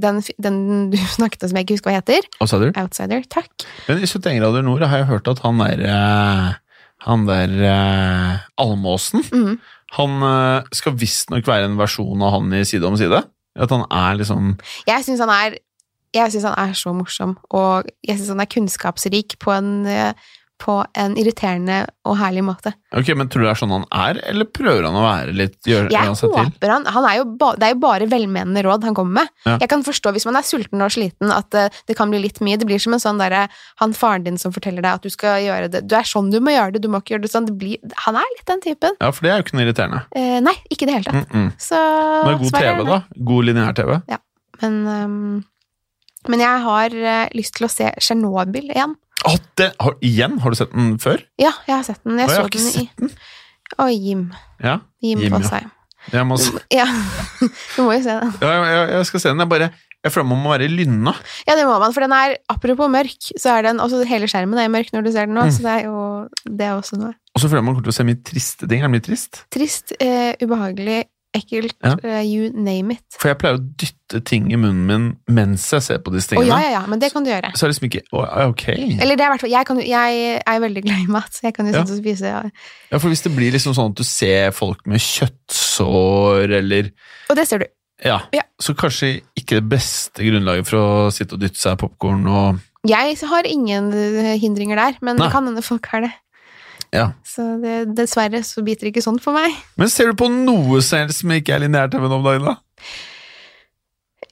Speaker 3: den, fi- den du snakket om som jeg ikke husker hva heter.
Speaker 2: Hva sa du?
Speaker 3: Outsider. Takk.
Speaker 2: Men i 71 grader nord har jeg hørt at han der eh, Han der eh, Almåsen
Speaker 3: Mhm.
Speaker 2: Han eh, skal visstnok være en versjon av han i Side om side. At han er liksom
Speaker 3: Jeg syns han er jeg synes han er så morsom, og jeg syns han er kunnskapsrik på en, eh, på en irriterende og herlig måte.
Speaker 2: Ok, men tror du det er sånn han er, eller prøver han å være litt gjør,
Speaker 3: Jeg
Speaker 2: gjør han seg til?
Speaker 3: håper han, han er jo ba, Det er jo bare velmenende råd han kommer med.
Speaker 2: Ja.
Speaker 3: Jeg kan forstå hvis man er sulten og sliten at eh, det kan bli litt mye. Det blir som en sånn derre han faren din som forteller deg at du skal gjøre det. Du er sånn du må gjøre det, du må ikke gjøre det sånn. Det blir, han er litt den typen.
Speaker 2: Ja, for det er jo ikke noe irriterende.
Speaker 3: Eh, nei, ikke i det hele tatt.
Speaker 2: Mm -mm.
Speaker 3: Så
Speaker 2: Men god
Speaker 3: svaret er
Speaker 2: TV,
Speaker 3: nei.
Speaker 2: da. God lineær-TV.
Speaker 3: Men, ehm, men jeg har eh, lyst til å se Tsjernobyl igjen.
Speaker 2: Å, det- har- Igjen? Har du sett den før?
Speaker 3: Ja, jeg har sett den. Jeg,
Speaker 2: Å, jeg har
Speaker 3: så
Speaker 2: ikke
Speaker 3: den i
Speaker 2: sett den.
Speaker 3: Å, Jim.
Speaker 2: Ja,
Speaker 3: Jim,
Speaker 2: Jim, ja.
Speaker 3: Fosheim.
Speaker 2: jeg, må, s-
Speaker 3: Ja. Du må jo se den.
Speaker 2: ja, jeg, jeg skal se den. Jeg bare Jeg føler man må være i lynna.
Speaker 3: Ja, det må man, for den er Apropos mørk, så er den også Hele skjermen er mørk når du ser den nå,
Speaker 2: Mm.
Speaker 3: så det er jo det er også noe.
Speaker 2: Og så føler jeg man kommer til å se mye triste ting. Er det mye trist?
Speaker 3: Trist, eh, ubehagelig, ekkelt,
Speaker 2: Ja.
Speaker 3: eh, you name it.
Speaker 2: For jeg pleier å dytte ting i munnen min mens jeg ser på disse
Speaker 3: Å
Speaker 2: tingene.
Speaker 3: ja, ja, ja, men det kan du gjøre.
Speaker 2: Så er det liksom ikke Å, ja, ok.
Speaker 3: Eller det er i hvert fall jeg, kan jo- jeg er veldig glad i mat, så jeg kan jo
Speaker 2: Ja.
Speaker 3: sitte og spise. Ja.
Speaker 2: Ja, for hvis det blir liksom sånn at du ser folk med kjøttsår eller
Speaker 3: Og det ser du.
Speaker 2: ja,
Speaker 3: Ja.
Speaker 2: så kanskje ikke det beste grunnlaget for å sitte og dytte seg popkorn og
Speaker 3: Jeg har ingen eh, hindringer der, men
Speaker 2: Nei.
Speaker 3: det kan hende folk har det.
Speaker 2: Ja.
Speaker 3: Så det, dessverre så biter det ikke sånn for meg.
Speaker 2: Men ser du på noe selv som ikke er lineær-TV nå om dagen, da?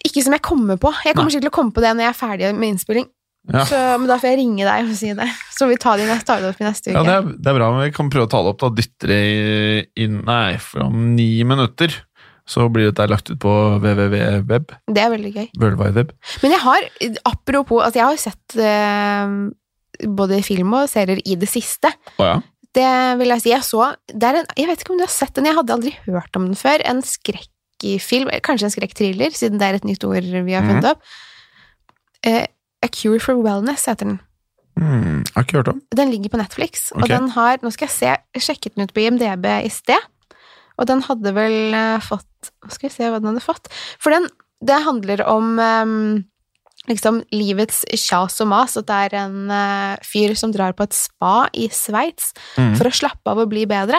Speaker 3: Ikke som jeg kommer på. Jeg kommer
Speaker 2: Nei.
Speaker 3: sikkert til å komme på det når jeg er ferdig med innspilling.
Speaker 2: Ja.
Speaker 3: Så, men da får jeg ringe deg og si det. Så vi tar det, i neste, tar det opp i neste uke.
Speaker 2: Ja, det er, det er bra, men vi kan prøve å ta det opp da. Dytter det inn, nei, for om ni minutter så blir dette lagt ut på www.web,
Speaker 3: det, er veldig gøy.
Speaker 2: World Wide Web.
Speaker 3: Men jeg har, apropos, altså jeg har jo sett eh, både film og serier i det siste.
Speaker 2: Å ja.
Speaker 3: Det vil jeg si. Jeg så det er en, Jeg vet ikke om du har sett den, jeg hadde aldri hørt om den før. En skrekkfilm, eller kanskje en skrekkthriller, siden det er et nytt ord vi har funnet opp. Eh, A Cure for Wellness heter den.
Speaker 2: Hmm, jeg har ikke hørt om.
Speaker 3: Den ligger på Netflix, og
Speaker 2: Ok.
Speaker 3: den har Nå skal jeg se, jeg sjekket den ut på IMDb i sted, og den hadde vel eh, fått Nå skal vi se hva den hadde fått. For den, det handler om eh, liksom livets kjas og mas, at det er en eh, fyr som drar på et spa i Sveits
Speaker 2: Mm.
Speaker 3: for å slappe av og bli bedre.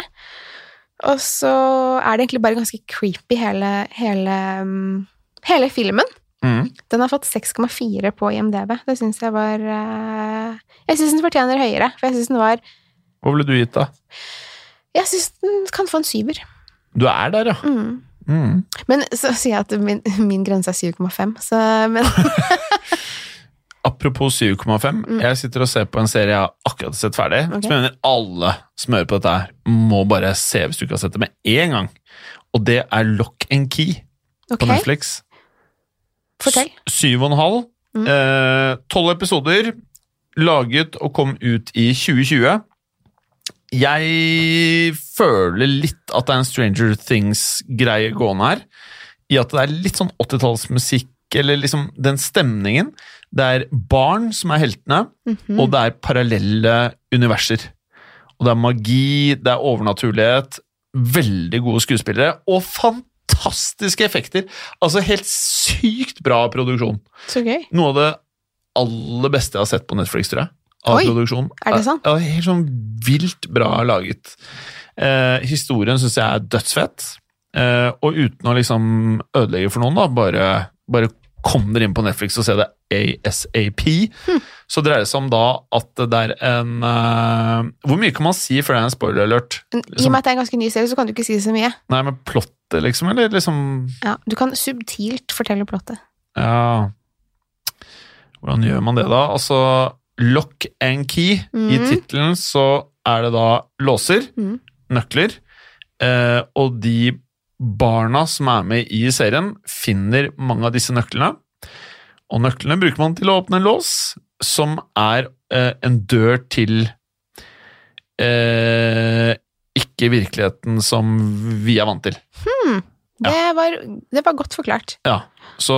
Speaker 3: Og så er det egentlig bare ganske creepy hele, hele, mm, hele filmen.
Speaker 2: Mm.
Speaker 3: Den har fått 6,4 på IMDb. Det syns jeg var eh, Jeg syns den fortjener høyere, for jeg syns den var
Speaker 2: Hva ville du gitt da?
Speaker 3: Jeg syns den kan få en syver.
Speaker 2: Du er der, ja.
Speaker 3: Mm.
Speaker 2: Mm.
Speaker 3: Men så sier jeg at min, min grense er 7,5, så men,
Speaker 2: Apropos 7,5.
Speaker 3: Mm.
Speaker 2: Jeg sitter og ser på en serie jeg har akkurat sett ferdig,
Speaker 3: Ok.
Speaker 2: som jeg mener alle som hører på dette her, må bare se hvis du ikke har sett det med en gang. Og det er Lock and Key
Speaker 3: Ok,
Speaker 2: på Netflix.
Speaker 3: fortell.
Speaker 2: S- Syv og en halv.
Speaker 3: Mm.
Speaker 2: Eh, Tolv episoder. Laget og kom ut i 2020. Jeg føler litt at det er en Stranger Things-greie gående her. I at det er litt sånn 80-tallsmusikk, eller liksom den stemningen. Det er barn som er heltene,
Speaker 3: Mhm.
Speaker 2: og det er parallelle universer. Og det er magi, det er overnaturlighet, veldig gode skuespillere, og fantastiske effekter. Altså helt sykt bra produksjon.
Speaker 3: Så gøy.
Speaker 2: Noe av det aller beste jeg har sett på Netflix, tror jeg. Av
Speaker 3: Oi,
Speaker 2: produksjon.
Speaker 3: er det sant?
Speaker 2: Ja, helt sånn vilt bra laget. Eh, historien syns jeg er dødsfett. Eh, og uten å liksom ødelegge for noen, da, bare, bare kom dere inn på Netflix og se det ASAP.
Speaker 3: Hm.
Speaker 2: Så dreier det seg om da at det er en eh, Hvor mye kan man si før det er en spoiler alert?
Speaker 3: Men I og med at det er en ganske ny serie, så kan du ikke si så mye.
Speaker 2: Nei, men plottet, liksom? Eller liksom
Speaker 3: Ja, du kan subtilt fortelle plottet.
Speaker 2: Ja Hvordan gjør man det, da? Altså, lock and key. I
Speaker 3: Mhm.
Speaker 2: tittelen så er det da låser,
Speaker 3: Mhm.
Speaker 2: nøkler, eh, og de barna som er med i serien, finner mange av disse nøklene. Og nøklene bruker man til å åpne en lås, som er eh, en dør til eh, ikke virkeligheten som vi er vant til. Ja.
Speaker 3: Det, var, det var godt forklart.
Speaker 2: Ja, så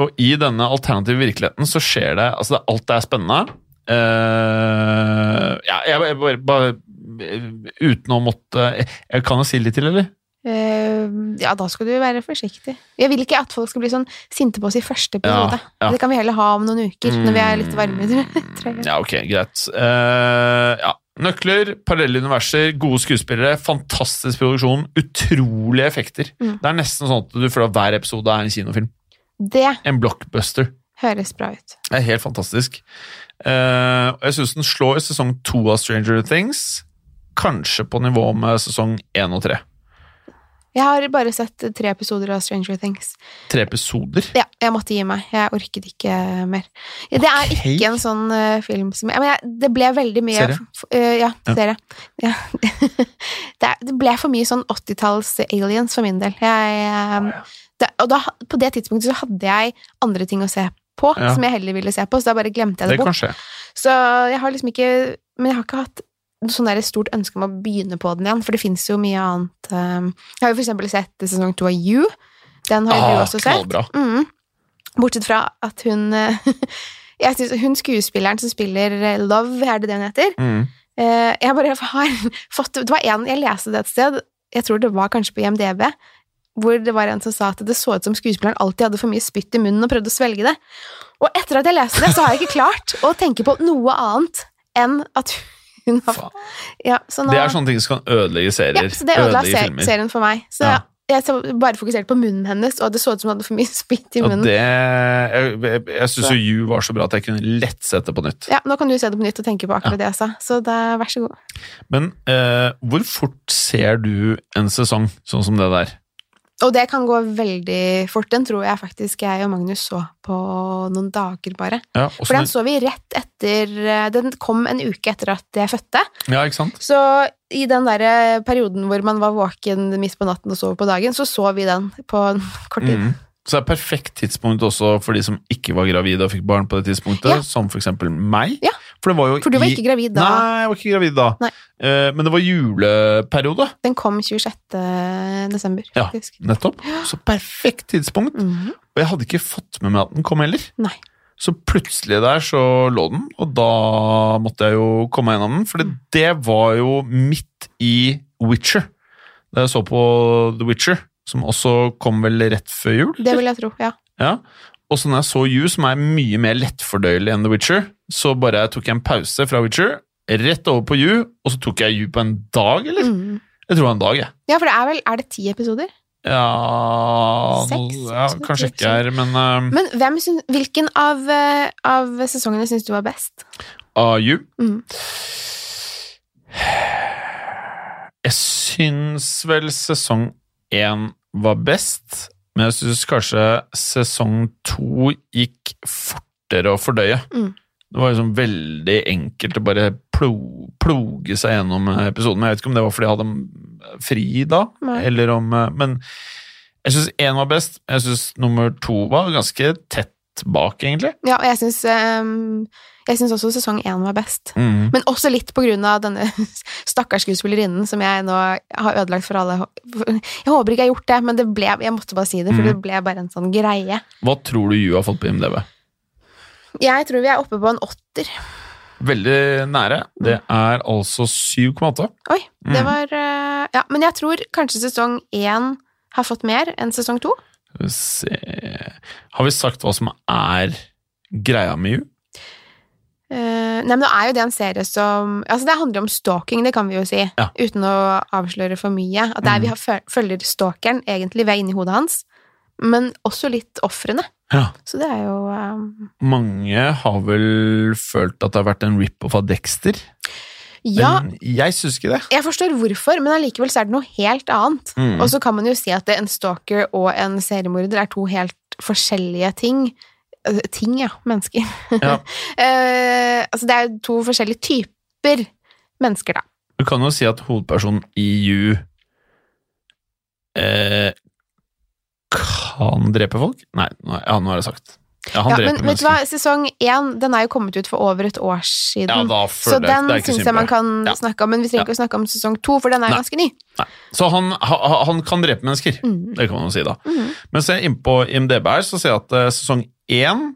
Speaker 2: og i denne alternative virkeligheten så skjer det Altså, det, alt er spennende. Eh, ja, jeg, jeg bare, bare eh, Uten å måtte jeg, jeg Kan jo si litt til, eller?
Speaker 3: Eh, ja, da skal du være forsiktig. Jeg vil ikke at folk skal bli sånn sinte på oss i første periode.
Speaker 2: Ja, Mm. ja.
Speaker 3: Det kan vi heller ha om noen uker, når vi er litt varmere. tror jeg.
Speaker 2: Ja, ok, greit. Eh, ja. Nøkler, parallelle universer, gode skuespillere, fantastisk produksjon, utrolige effekter.
Speaker 3: Mm.
Speaker 2: Det er nesten sånn at du føler at hver episode er en kinofilm.
Speaker 3: Det
Speaker 2: En blockbuster.
Speaker 3: høres bra ut.
Speaker 2: Det er helt fantastisk. Eh, og jeg syns den slår sesong to av Stranger Things. Kanskje på nivå med sesong én og tre.
Speaker 3: Jeg har bare sett tre episoder av Stranger Things.
Speaker 2: Tre episoder.
Speaker 3: Ja, jeg måtte gi meg. Jeg orket ikke eh, mer. Det er
Speaker 2: Ok.
Speaker 3: ikke en sånn eh, film som jeg, men jeg, Det ble veldig mye
Speaker 2: Serie?
Speaker 3: f- eh, ja,
Speaker 2: Ja.
Speaker 3: serie. Ja. det, er- det ble for mye sånn 80-talls aliens for min del. Jeg, eh, det, og da, på det tidspunktet så hadde jeg andre ting å se på
Speaker 2: Ja.
Speaker 3: som jeg heller ville se på, så da bare glemte jeg
Speaker 2: Det
Speaker 3: det bort.
Speaker 2: kan skje.
Speaker 3: Så jeg har liksom ikke Men jeg har ikke hatt noe sånn der stort ønske om å begynne på den igjen, for det fins jo mye annet. eh, Jeg har jo for eksempel sett sesong to av You. Den har jo du
Speaker 2: Ah,
Speaker 3: også sett.
Speaker 2: knallbra.
Speaker 3: Mm. Bortsett fra at hun eh, Jeg synes hun skuespilleren som spiller eh, Love, er det det hun heter?
Speaker 2: Mm.
Speaker 3: Eh, Jeg bare har fått Det var en jeg leste det et sted, jeg tror det var kanskje på IMDb, hvor det var en som sa at det så ut som skuespilleren alltid hadde for mye spytt i munnen og prøvde å svelge det. Og etter at jeg leste det, så har jeg ikke klart å tenke på noe annet enn at hun har
Speaker 2: Faen.
Speaker 3: ja, så nå,
Speaker 2: Det er sånne ting som kan ødelegge serier.
Speaker 3: ja, så det ødela
Speaker 2: ødelegge
Speaker 3: ser,
Speaker 2: filmer.
Speaker 3: serien for meg. Så
Speaker 2: Ja.
Speaker 3: jeg så bare fokuserte på munnen hennes, og det så ut som hun hadde for mye spytt i
Speaker 2: Og
Speaker 3: munnen.
Speaker 2: det Jeg, jeg, jeg syns jo You var så bra at jeg kunne lett sett det på nytt.
Speaker 3: Ja, nå kan du se det på nytt og tenke på akkurat det jeg sa. Så da, vær så god.
Speaker 2: Men eh, hvor fort ser du en sesong sånn som det der?
Speaker 3: Og det kan gå veldig fort. Den tror jeg faktisk jeg og Magnus så på noen dager, bare.
Speaker 2: Ja,
Speaker 3: For den
Speaker 2: åssen-
Speaker 3: så vi rett etter eh, Den kom en uke etter at jeg fødte.
Speaker 2: ja ikke sant?
Speaker 3: Så i den der eh, perioden hvor man var våken midt på natten og sov på dagen, så så vi den på en kort tid.
Speaker 2: Mm. Så det er perfekt tidspunkt også for de som ikke var gravide og fikk barn på det tidspunktet,
Speaker 3: Ja.
Speaker 2: som for eksempel meg.
Speaker 3: Ja.
Speaker 2: For det var jo
Speaker 3: For du var
Speaker 2: i-
Speaker 3: ikke gravid da.
Speaker 2: Nei, jeg var ikke gravid da.
Speaker 3: Nei.
Speaker 2: Eh, men det var juleperiode,
Speaker 3: Den kom 26. desember,
Speaker 2: Ja.
Speaker 3: faktisk.
Speaker 2: nettopp. Så perfekt tidspunkt.
Speaker 3: Mhm.
Speaker 2: Og jeg hadde ikke fått med meg at den kom heller.
Speaker 3: Nei.
Speaker 2: Så plutselig der så lå den, og da måtte jeg jo komme meg gjennom den. For
Speaker 3: Mm.
Speaker 2: det var jo midt i Witcher. Da jeg så på The Witcher, som også kom vel rett før jul.
Speaker 3: Det vil jeg tro, ja.
Speaker 2: Ja. Og så når jeg så You, som er mye mer lettfordøyelig enn The Witcher, så bare tok jeg en pause fra Witcher, rett over på You, og så tok jeg You på en dag, eller?
Speaker 3: Mhm.
Speaker 2: Jeg tror det var en dag, jeg.
Speaker 3: Ja, for det er vel Er det ti episoder?
Speaker 2: Ja,
Speaker 3: Seks,
Speaker 2: nå- ja
Speaker 3: syv,
Speaker 2: Kanskje
Speaker 3: syv,
Speaker 2: ikke her, men eh,
Speaker 3: Men hvem syn- hvilken av, eh, av sesongene syns du var best?
Speaker 2: av You
Speaker 3: Mhm.
Speaker 2: Jeg syns vel sesong én var best, men jeg syns kanskje sesong to gikk fortere å fordøye.
Speaker 3: Mm.
Speaker 2: Det var liksom veldig enkelt å bare plo, ploge seg gjennom episoden. Men jeg vet ikke om det var fordi jeg hadde fri da,
Speaker 3: Nei.
Speaker 2: eller om Men jeg syns én var best. Jeg syns nummer to var ganske tett bak, egentlig.
Speaker 3: Ja, og jeg syns ehm, Jeg syns også sesong én var best.
Speaker 2: Mm.
Speaker 3: Men også litt på grunn av denne stakkars skuespillerinnen som jeg nå har ødelagt for alle. Jeg håper ikke jeg har gjort det, men det ble, jeg måtte bare si det, for
Speaker 2: Mm.
Speaker 3: det ble bare en sånn greie.
Speaker 2: Hva tror du You har fått på IMDv?
Speaker 3: Jeg tror vi er oppe på en åtter.
Speaker 2: Veldig nære. Det er altså 7,8.
Speaker 3: Oi, det
Speaker 2: Mm.
Speaker 3: var eh, Ja, men jeg tror kanskje sesong én har fått mer enn sesong to.
Speaker 2: Skal vi se Har vi sagt hva som er greia med You?
Speaker 3: Eh, nei, men nå er jo det en serie som Altså, det handler om stalking, det kan vi jo si.
Speaker 2: Ja.
Speaker 3: Uten å avsløre for mye. At det er
Speaker 2: Mm.
Speaker 3: vi har, føl- følger stalkeren, egentlig, vi er inni hodet hans. Men også litt ofrene.
Speaker 2: Ja.
Speaker 3: Så det er jo eh,
Speaker 2: Mange har vel følt at det har vært en rip-off av Dexter,
Speaker 3: Ja,
Speaker 2: men jeg syns ikke det.
Speaker 3: jeg forstår hvorfor, men allikevel så er det noe helt annet.
Speaker 2: Mm.
Speaker 3: Og så kan man jo si at det, en stalker og en seriemorder er to helt forskjellige ting. Eh, Ting, ja. Mennesker.
Speaker 2: Ja.
Speaker 3: Eh, altså, det er jo to forskjellige typer mennesker, da.
Speaker 2: Du kan jo si at hovedpersonen i You eh, kan drepe folk. Nei, nå, ja, nå har jeg sagt Ja, han
Speaker 3: Ja, men
Speaker 2: dreper
Speaker 3: vet du hva,
Speaker 2: mennesker.
Speaker 3: sesong én den er jo kommet ut for over et år siden.
Speaker 2: Ja, da
Speaker 3: så
Speaker 2: føler jeg
Speaker 3: den
Speaker 2: det er ikke
Speaker 3: syns jeg man
Speaker 2: synd på
Speaker 3: kan
Speaker 2: Ja.
Speaker 3: snakke om, men vi trenger ikke å snakke om sesong to, for den er
Speaker 2: Nei.
Speaker 3: jo ganske ny. Mm.
Speaker 2: Nei. Så han, ha- han kan drepe mennesker, det kan man jo si da. Mens jeg er inne på IMDb her, så ser jeg at eh, sesong én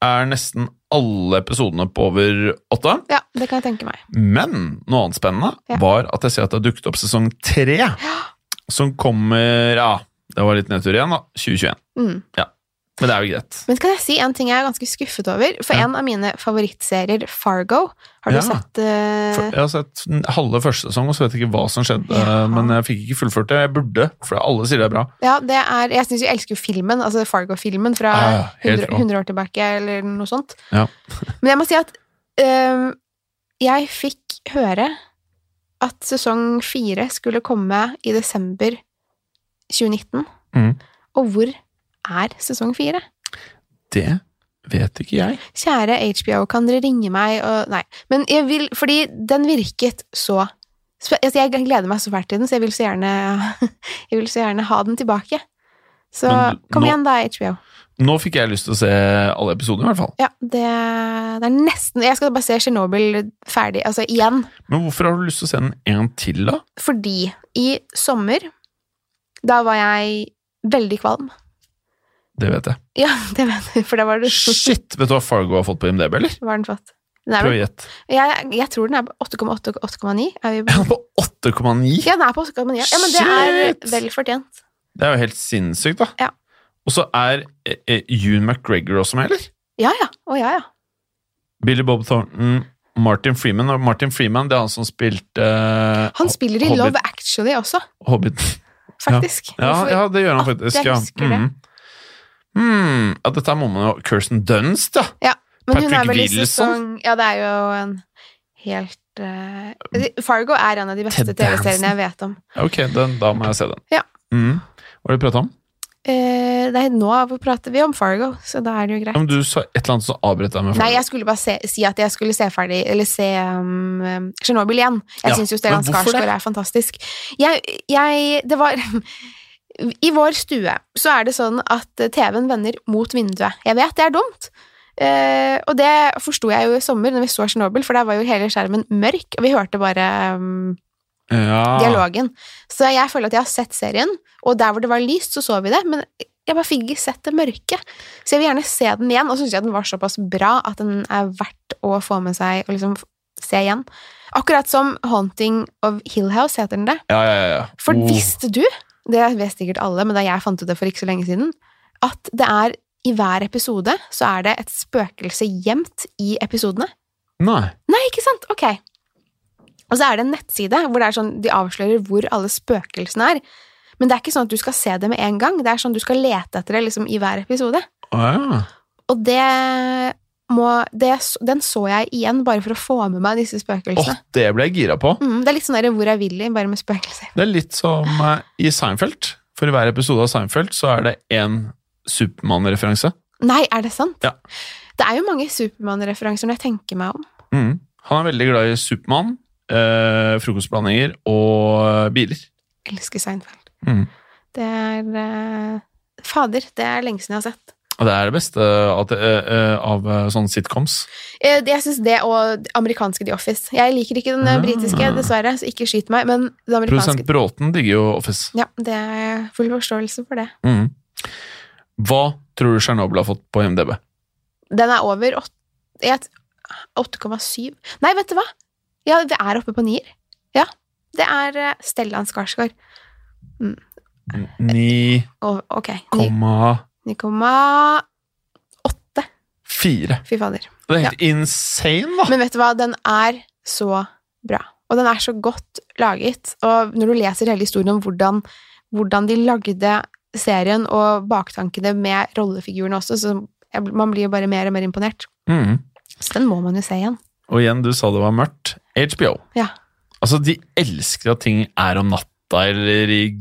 Speaker 2: er nesten alle episodene på over åtte.
Speaker 3: Ja, det kan jeg tenke meg.
Speaker 2: Men noe annet spennende
Speaker 3: Ja.
Speaker 2: var at jeg ser at det har dukket opp sesong tre, som kommer Ja, det var litt nedtur igjen, da. 2021.
Speaker 3: Mm.
Speaker 2: Ja. Men det er jo greit.
Speaker 3: Men kan jeg si en ting jeg er ganske skuffet over? For
Speaker 2: Ja.
Speaker 3: en av mine favorittserier, Fargo, har du
Speaker 2: Ja.
Speaker 3: sett eh,
Speaker 2: For- Jeg har sett n- halve første sesong, og så vet jeg ikke hva som skjedde.
Speaker 3: Ja.
Speaker 2: eh, Men jeg fikk ikke fullført det. Jeg burde, for alle sier det er bra.
Speaker 3: Ja, det er Jeg syns jeg elsker jo filmen, altså Fargo-filmen fra
Speaker 2: Ja, ja, helt
Speaker 3: 100,
Speaker 2: rå.
Speaker 3: 100 år tilbake, eller noe sånt.
Speaker 2: Ja.
Speaker 3: Men jeg må si at øhm, jeg fikk høre at sesong fire skulle komme i desember 2019.
Speaker 2: Mhm.
Speaker 3: Og hvor er sesong fire?
Speaker 2: Det vet ikke jeg.
Speaker 3: Kjære HBO, kan dere ringe meg og Nei. Men jeg vil Fordi den virket så sp- altså Jeg gleder meg så fælt til den, så jeg vil så gjerne Jeg vil så gjerne ha den tilbake. Så
Speaker 2: Men
Speaker 3: kom
Speaker 2: nå-
Speaker 3: igjen, da, HBO.
Speaker 2: Nå fikk jeg lyst til å se alle episodene, i hvert fall.
Speaker 3: Ja, det, det er nesten Jeg skal bare se Tsjernobyl ferdig, altså igjen.
Speaker 2: Men hvorfor har du lyst til å se den en til, da?
Speaker 3: Fordi i sommer, da var jeg veldig kvalm.
Speaker 2: Det vet jeg.
Speaker 3: Ja, det vet du, for da var det
Speaker 2: Shit! Vet du hva Fargo har fått på IMDb, eller?
Speaker 3: Var den flott? Den er
Speaker 2: Prøv å
Speaker 3: vel,
Speaker 2: gjette.
Speaker 3: jeg, jeg tror den er på 8,8-8,9. Er
Speaker 2: Er
Speaker 3: vi
Speaker 2: han på 8,9?
Speaker 3: Ja, den er på 8,9. Ja, men
Speaker 2: Shit!
Speaker 3: det er vel fortjent.
Speaker 2: Det er jo helt sinnssykt, da.
Speaker 3: Ja.
Speaker 2: Og så er eh, eh, Ewan McGregor også med, eller?
Speaker 3: Ja, ja. Å, ja, ja.
Speaker 2: Billy Bob Thornton, Martin Freeman. Og Martin Freeman det er han som spilte eh,
Speaker 3: Han spiller i
Speaker 2: Hobbit.
Speaker 3: Love Actually også,
Speaker 2: Hobbit.
Speaker 3: faktisk.
Speaker 2: Ja,
Speaker 3: Hvorfor-
Speaker 2: ja, det gjør han
Speaker 3: At
Speaker 2: faktisk.
Speaker 3: jeg
Speaker 2: Ja.
Speaker 3: husker det.
Speaker 2: Mhm. Hmm, ja, dette må man jo Kirsten Dunst, da!
Speaker 3: Ja, men hun er
Speaker 2: Patrick
Speaker 3: vel i
Speaker 2: Wilson.
Speaker 3: sesong Ja, det er jo en helt eh, Fargo er en av de beste
Speaker 2: Ted Danson.
Speaker 3: TV-seriene jeg vet om.
Speaker 2: Ja, Ok, den, da må jeg se den.
Speaker 3: Ja.
Speaker 2: Mhm. Hva har du pratet om?
Speaker 3: Eh, nei, nå prater vi om Fargo, så da er det jo greit.
Speaker 2: Ja, men du sa et eller annet som avbrøt deg med
Speaker 3: Nei, jeg skulle bare se, si at jeg skulle se ferdig Eller se um, um, Tsjernobyl igjen. Jeg
Speaker 2: Ja,
Speaker 3: synes syns jo Stellan
Speaker 2: men hvorfor
Speaker 3: Skarsgård
Speaker 2: det?
Speaker 3: er fantastisk. Jeg, jeg Det var I vår stue så er det sånn at TV-en vender mot vinduet. Jeg vet det er dumt. Eh, og det forsto jeg jo i sommer når vi så Tsjernobyl, for der var jo hele skjermen mørk, og vi hørte bare um,
Speaker 2: Ja.
Speaker 3: dialogen. Så jeg føler at jeg har sett serien, og der hvor det var lyst, så så vi det. Men jeg bare fikk ikke sett det mørke. Så jeg vil gjerne se den igjen, og syns jeg den var såpass bra at den er verdt å få med seg og liksom f- se igjen. Akkurat som Haunting of Hillhouse heter den det.
Speaker 2: Ja, ja, ja, ja.
Speaker 3: For
Speaker 2: Oh.
Speaker 3: visste du, det vet sikkert alle, men da jeg fant ut det for ikke så lenge siden, at det er i hver episode så er det et spøkelse gjemt i episodene.
Speaker 2: Nei.
Speaker 3: Nei, ikke sant? Ok. Og så er det en nettside hvor det er sånn, de avslører hvor alle spøkelsene er. Men det er ikke sånn at du skal se det med en gang. Det er sånn du skal lete etter det liksom, i hver episode.
Speaker 2: Å, ja.
Speaker 3: Og det må, det, den så jeg igjen bare for å få med meg disse
Speaker 2: Åh,
Speaker 3: spøkelsene.
Speaker 2: det ble jeg gira på.
Speaker 3: Mm, det er litt sånn der, hvor er Willy, bare med spøkelser.
Speaker 2: Det er litt som eh, i Seinfeld. For i hver episode av Seinfeld så er det én Supermann-referanse.
Speaker 3: Nei, er det sant?
Speaker 2: Ja.
Speaker 3: Det er jo mange Supermann-referanser når jeg tenker meg om.
Speaker 2: Mhm. Han er veldig glad i Supermann, eh, frokostblandinger og eh, biler.
Speaker 3: Jeg elsker Seinfeld.
Speaker 2: Mhm.
Speaker 3: Det er eh, Fader, det er lenge siden jeg har sett.
Speaker 2: Og det er det beste at, eh, eh, av eh, sånne sitcoms.
Speaker 3: Eh, det- Jeg syns det og det amerikanske The Office. Jeg liker ikke den eh,
Speaker 2: Ah.
Speaker 3: britiske, dessverre, så ikke skyt meg, men det
Speaker 2: Produsent
Speaker 3: amerikanske
Speaker 2: Bråten digger jo Office.
Speaker 3: Ja, det er full forståelse for det.
Speaker 2: Mhm. Hva tror du Tsjernobyl har fått på MDB?
Speaker 3: Den er over åt- jeg t- 8,7 Nei, vet du hva? Ja, det er oppe på nier. Ja. Det er eh, Stellan Skarsgård. Og, ok. ni-
Speaker 2: 9,4.
Speaker 3: 9,8. Fy fader.
Speaker 2: Det er helt insane, da!
Speaker 3: Men vet du hva, den er så bra. Og den er så godt laget. Og når du leser hele historien om hvordan, hvordan de lagde serien, og baktankene med rollefigurene også, så jeg, man blir jo bare mer og mer imponert.
Speaker 2: Mhm.
Speaker 3: Så den må man jo se igjen.
Speaker 2: Og igjen, du sa det var mørkt. HBO.
Speaker 3: Ja.
Speaker 2: Altså, de elsker at ting er om natta, eller i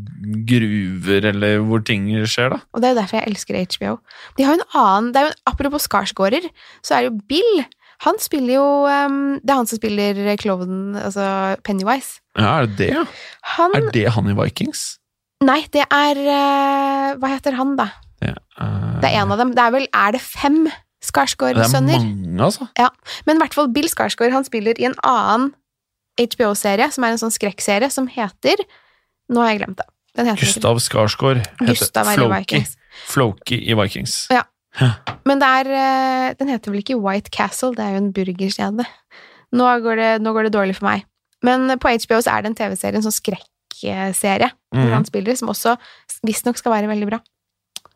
Speaker 2: gruver, eller hvor ting skjer, da.
Speaker 3: Og det er jo derfor jeg elsker HBO. De har jo en annen det er jo, en- Apropos skarsgårder, så er det jo Bill. Han spiller jo ehm, Det er han som spiller klovnen, altså Pennywise.
Speaker 2: Ja, er det det, ja?
Speaker 3: Han
Speaker 2: Er det han i Vikings?
Speaker 3: Nei, det er eh, Hva heter han, da?
Speaker 2: Det er
Speaker 3: Det er en av dem. Det er vel Er det fem
Speaker 2: Det er
Speaker 3: Skarsgård-sønner?
Speaker 2: mange, altså.
Speaker 3: Men i hvert fall Bill Skarsgård han spiller i en annen HBO-serie, som er en sånn skrekkserie, som heter Nå har jeg glemt det. Den heter
Speaker 2: Gustav Skarsgård heter
Speaker 3: Gustav er i
Speaker 2: Floki.
Speaker 3: Vikings.
Speaker 2: Floki i Vikings.
Speaker 3: Men det er eh, Den heter vel ikke White Castle, det er jo en burgerkjede. Nå går det, nå går det dårlig for meg. Men på HBO så er det en TV-serie, en sånn skrekkserie, hvor
Speaker 2: Mhm.
Speaker 3: han spiller, som også visstnok skal være veldig bra.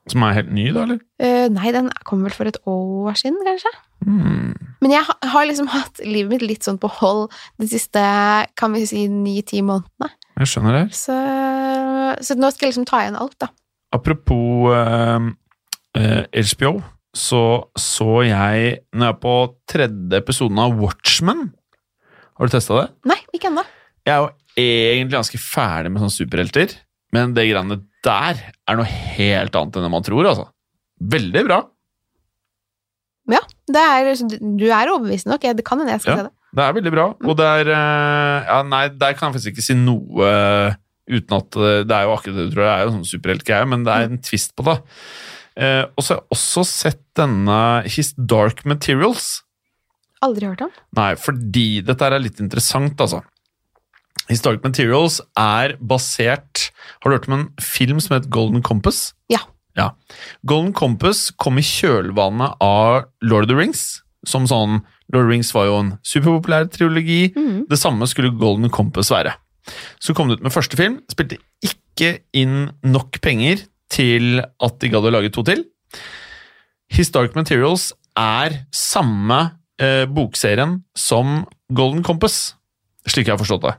Speaker 2: Som er helt ny, da, eller?
Speaker 3: Eh, nei, den kom vel for et år siden, kanskje?
Speaker 2: Mm.
Speaker 3: Men jeg ha- har liksom hatt livet mitt litt sånn på hold de siste, kan vi si, ni-ti månedene.
Speaker 2: Jeg skjønner det.
Speaker 3: Så, så nå skal jeg liksom ta igjen alt, da.
Speaker 2: Apropos eh, eh, HBO, så så jeg Når jeg er på tredje episoden av Watchmen Har du testa det?
Speaker 3: Nei, ikke ennå.
Speaker 2: Jeg er jo egentlig ganske ferdig med sånne superhelter, men det greiene der er noe helt annet enn det man tror, altså. Veldig bra.
Speaker 3: Det er, liksom, du er overbevisende nok. Jeg- Det kan hende jeg skal
Speaker 2: Ja.
Speaker 3: se det.
Speaker 2: Det er veldig bra, og det er eh, Ja, nei, der kan jeg faktisk ikke si noe eh, uten at eh, Det er jo akkurat det du tror, det er jo sånn superheltgreie, men det er en twist på det. Eh, og så har jeg også sett denne His Dark Materials.
Speaker 3: Aldri hørt om.
Speaker 2: Nei, fordi dette her er litt interessant, altså. Historic Materials er basert Har du hørt om en film som heter Golden Compass?
Speaker 3: Ja.
Speaker 2: ja. Golden Compass kom i kjølvannet av Lord of the Rings. Som sånn Lord of the Rings var jo en superpopulær triologi.
Speaker 3: Mhm.
Speaker 2: Det samme skulle Golden Compass være. Så kom det ut med første film, spilte ikke inn nok penger til at de gadd å lage to til. Historic Materials er samme eh, bokserien som Golden Compass, slik jeg har forstått det.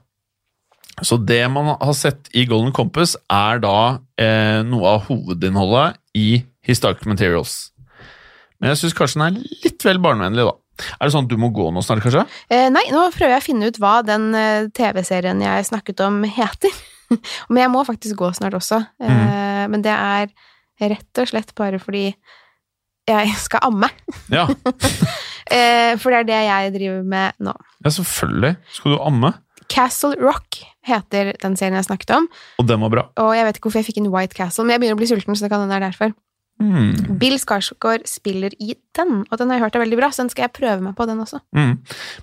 Speaker 2: Så det man har sett i Golden Compass, er da eh, noe av hovedinnholdet i Historic Materials. Men jeg syns kanskje den er litt vel barnevennlig, da. Er det sånn at du må gå nå snart, kanskje?
Speaker 3: Eh, nei, nå prøver jeg å finne ut hva den eh, TV-serien jeg snakket om, heter. Men jeg må faktisk gå snart også. Eh, Men det er rett og slett bare fordi jeg skal amme.
Speaker 2: Ja,
Speaker 3: Eh, for det er det jeg driver med nå.
Speaker 2: ja selvfølgelig. Skal du amme?
Speaker 3: Castle Rock heter den serien jeg snakket om.
Speaker 2: Og den var bra.
Speaker 3: Og jeg vet ikke hvorfor jeg fikk en White Castle, men jeg begynner å bli sulten, så det kan hende det er derfor.
Speaker 2: Mm.
Speaker 3: Bill Skarsgård spiller i den, og den har jeg hørt er veldig bra, så den skal jeg prøve meg på, den også.
Speaker 2: Mm.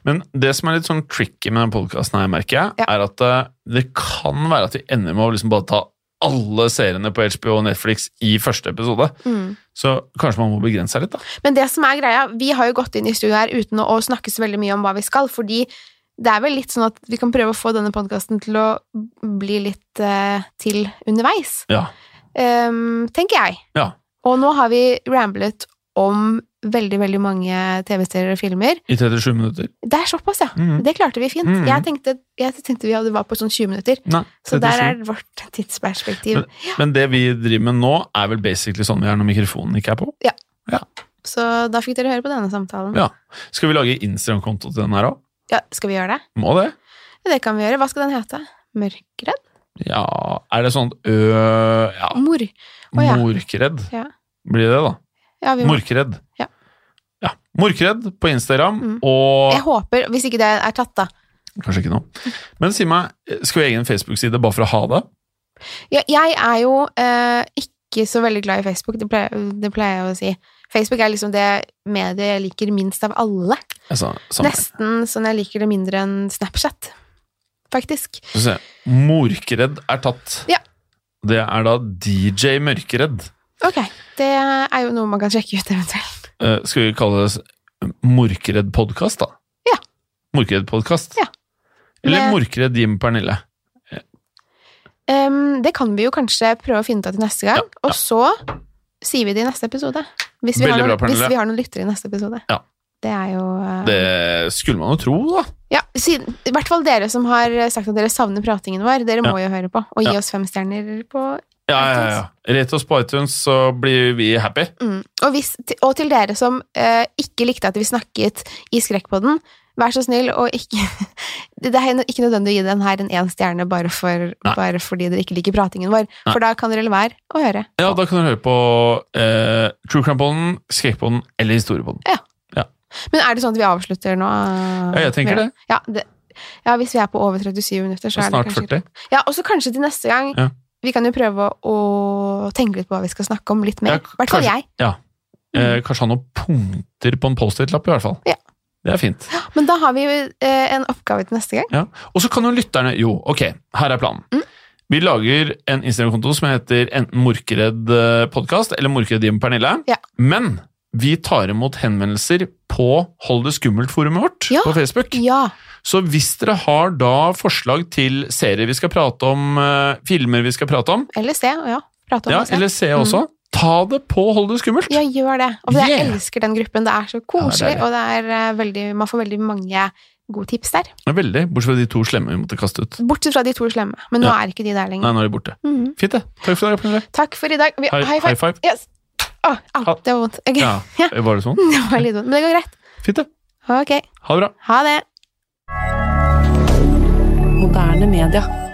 Speaker 2: Men det som er litt sånn tricky med denne podkasten, merker jeg,
Speaker 3: Ja.
Speaker 2: er at eh, det kan være at vi ender med å liksom bare ta alle seriene på HBO og Netflix i første episode. Så kanskje man må begrense seg litt, da.
Speaker 3: Men det som er greia, vi har jo gått inn i studio her uten å, å snakke så veldig mye om hva vi skal, fordi det er vel litt sånn at vi kan prøve å få denne podkasten til å bli litt eh, til underveis,
Speaker 2: Ja.
Speaker 3: ehm, tenker jeg.
Speaker 2: Ja.
Speaker 3: Og nå har vi ramblet om veldig, veldig mange TV-serier og filmer.
Speaker 2: I 37 minutter.
Speaker 3: Det er såpass, ja.
Speaker 2: Mhm.
Speaker 3: Det klarte vi fint.
Speaker 2: Mhm.
Speaker 3: Jeg, tenkte, jeg tenkte vi hadde var på sånn 20 minutter.
Speaker 2: Nei,
Speaker 3: Så
Speaker 2: 37.
Speaker 3: der er vårt tidsperspektiv.
Speaker 2: Men det vi driver med nå, er vel basically sånn vi er når mikrofonen ikke er på.
Speaker 3: Så da fikk dere høre på denne samtalen.
Speaker 2: Ja. Skal vi lage Instagram-konto til den her òg?
Speaker 3: Ja, skal vi gjøre det?
Speaker 2: Må det.
Speaker 3: Ja, Det kan vi gjøre. Hva skal den hete? Mørkredd?
Speaker 2: Ja Er det sånn ø... Ja,
Speaker 3: Mor. Å, ja.
Speaker 2: morkredd
Speaker 3: Ja.
Speaker 2: blir det, da.
Speaker 3: Ja, vi må.
Speaker 2: Morkredd.
Speaker 3: Ja.
Speaker 2: Ja, Morkredd på Instagram
Speaker 3: Mm.
Speaker 2: og
Speaker 3: Jeg håper, hvis ikke det er tatt, da.
Speaker 2: Kanskje ikke nå. Men si meg, skal vi ha egen Facebook-side bare for å ha det?
Speaker 3: Ja, jeg er jo eh, ikke så veldig glad i Facebook, det pleier, det pleier jeg å si. Facebook er liksom det mediet jeg liker minst av alle.
Speaker 2: Altså, samme her.
Speaker 3: Nesten sånn jeg liker det mindre enn Snapchat, faktisk.
Speaker 2: Skal vi se. Morkredd er tatt.
Speaker 3: Ja.
Speaker 2: Det er da DJ Mørkredd.
Speaker 3: Ok, det er jo noe man kan sjekke ut eventuelt.
Speaker 2: Eh, skal vi kalle det s- Morkredd podkast, da?
Speaker 3: Ja.
Speaker 2: Morkredd podkast?
Speaker 3: Ja.
Speaker 2: Eller
Speaker 3: Med-
Speaker 2: Morkredd Jim Pernille.
Speaker 3: Em, det kan vi jo kanskje prøve å finne ut av til neste gang, og så sier vi det i neste episode. Hvis vi, har
Speaker 2: Veldig
Speaker 3: noen,
Speaker 2: bra, Pernille.
Speaker 3: hvis vi har noen lyttere i neste episode.
Speaker 2: Ja.
Speaker 3: Det er jo eh,
Speaker 2: Det skulle man jo tro, da.
Speaker 3: Ja, siden, I hvert fall dere som har sagt at dere savner pratingen vår, dere må jo høre på. Og gi
Speaker 2: Ja.
Speaker 3: oss fem stjerner på
Speaker 2: Ja, ja, ja. Rate oss på iTunes, så blir vi happy.
Speaker 3: mm. og, hvis, og til dere som eh, ikke likte at vi snakket i Skrekkpodden, vær så snill og ikke Det er ikke nødvendig å gi den her en én stjerne bare, for,
Speaker 2: Nei.
Speaker 3: bare fordi dere ikke liker pratingen vår. For da kan dere la være å høre.
Speaker 2: Ja, da kan du høre på eh, True Crime-podden, Skrekkpodden eller Historiepodden.
Speaker 3: Men er det sånn at vi avslutter nå?
Speaker 2: Ja, jeg tenker det.
Speaker 3: Ja, det, ja hvis vi er på over 37 minutter, så er det
Speaker 2: Snart
Speaker 3: kanskje
Speaker 2: 40.
Speaker 3: Ja, og så kanskje til neste gang
Speaker 2: Ja.
Speaker 3: Vi kan jo prøve å tenke litt på hva vi skal snakke om litt
Speaker 2: Ja,
Speaker 3: mer. I hvert fall
Speaker 2: kanskje-
Speaker 3: jeg.
Speaker 2: Ja. Eh, kanskje ha noen punkter på en Post-It-lapp, i hvert fall.
Speaker 3: Mm. Ja.
Speaker 2: Det er fint.
Speaker 3: Men da har vi jo eh, en oppgave til neste gang.
Speaker 2: Ja. Og så kan jo lytterne Jo, ok, her er planen.
Speaker 3: Mm.
Speaker 2: Vi lager en Instagram-konto som heter enten Morkeredd eh, podcast eller Morkeredd Jim Pernille.
Speaker 3: Ja.
Speaker 2: Men vi tar imot henvendelser på Hold det skummelt-forumet vårt
Speaker 3: Ja.
Speaker 2: på Facebook.
Speaker 3: Ja.
Speaker 2: Så hvis dere har da forslag til serier vi skal prate om, eh, filmer vi skal prate om,
Speaker 3: Eller se. Ja. Prate om
Speaker 2: ja, Mm.
Speaker 3: det.
Speaker 2: eller se også, ta det på Hold det skummelt.
Speaker 3: Ja, gjør det. Og jeg
Speaker 2: Yeah.
Speaker 3: elsker den gruppen. Det er så koselig,
Speaker 2: deilig.
Speaker 3: og det er eh, veldig, man får veldig mange gode tips der.
Speaker 2: Veldig, bortsett fra de to slemme vi måtte kaste ut.
Speaker 3: Bortsett fra de to slemme, men nå
Speaker 2: Ja.
Speaker 3: er ikke de der
Speaker 2: Nei,
Speaker 3: lenger.
Speaker 2: nå er de borte.
Speaker 3: Mhm.
Speaker 2: Fint, det. Takk for i dag, Pernille.
Speaker 3: Takk for i dag. Vi,
Speaker 2: High, high five.
Speaker 3: Yes. Å, au,
Speaker 2: Ha-
Speaker 3: det var vondt. Ok.
Speaker 2: Ja.
Speaker 3: Ja.
Speaker 2: Var det sånn?
Speaker 3: Det var litt vondt, men det går greit.
Speaker 2: Fint, det.
Speaker 3: Ok,
Speaker 2: Ha det bra.
Speaker 3: ha det.
Speaker 4: Moderne media.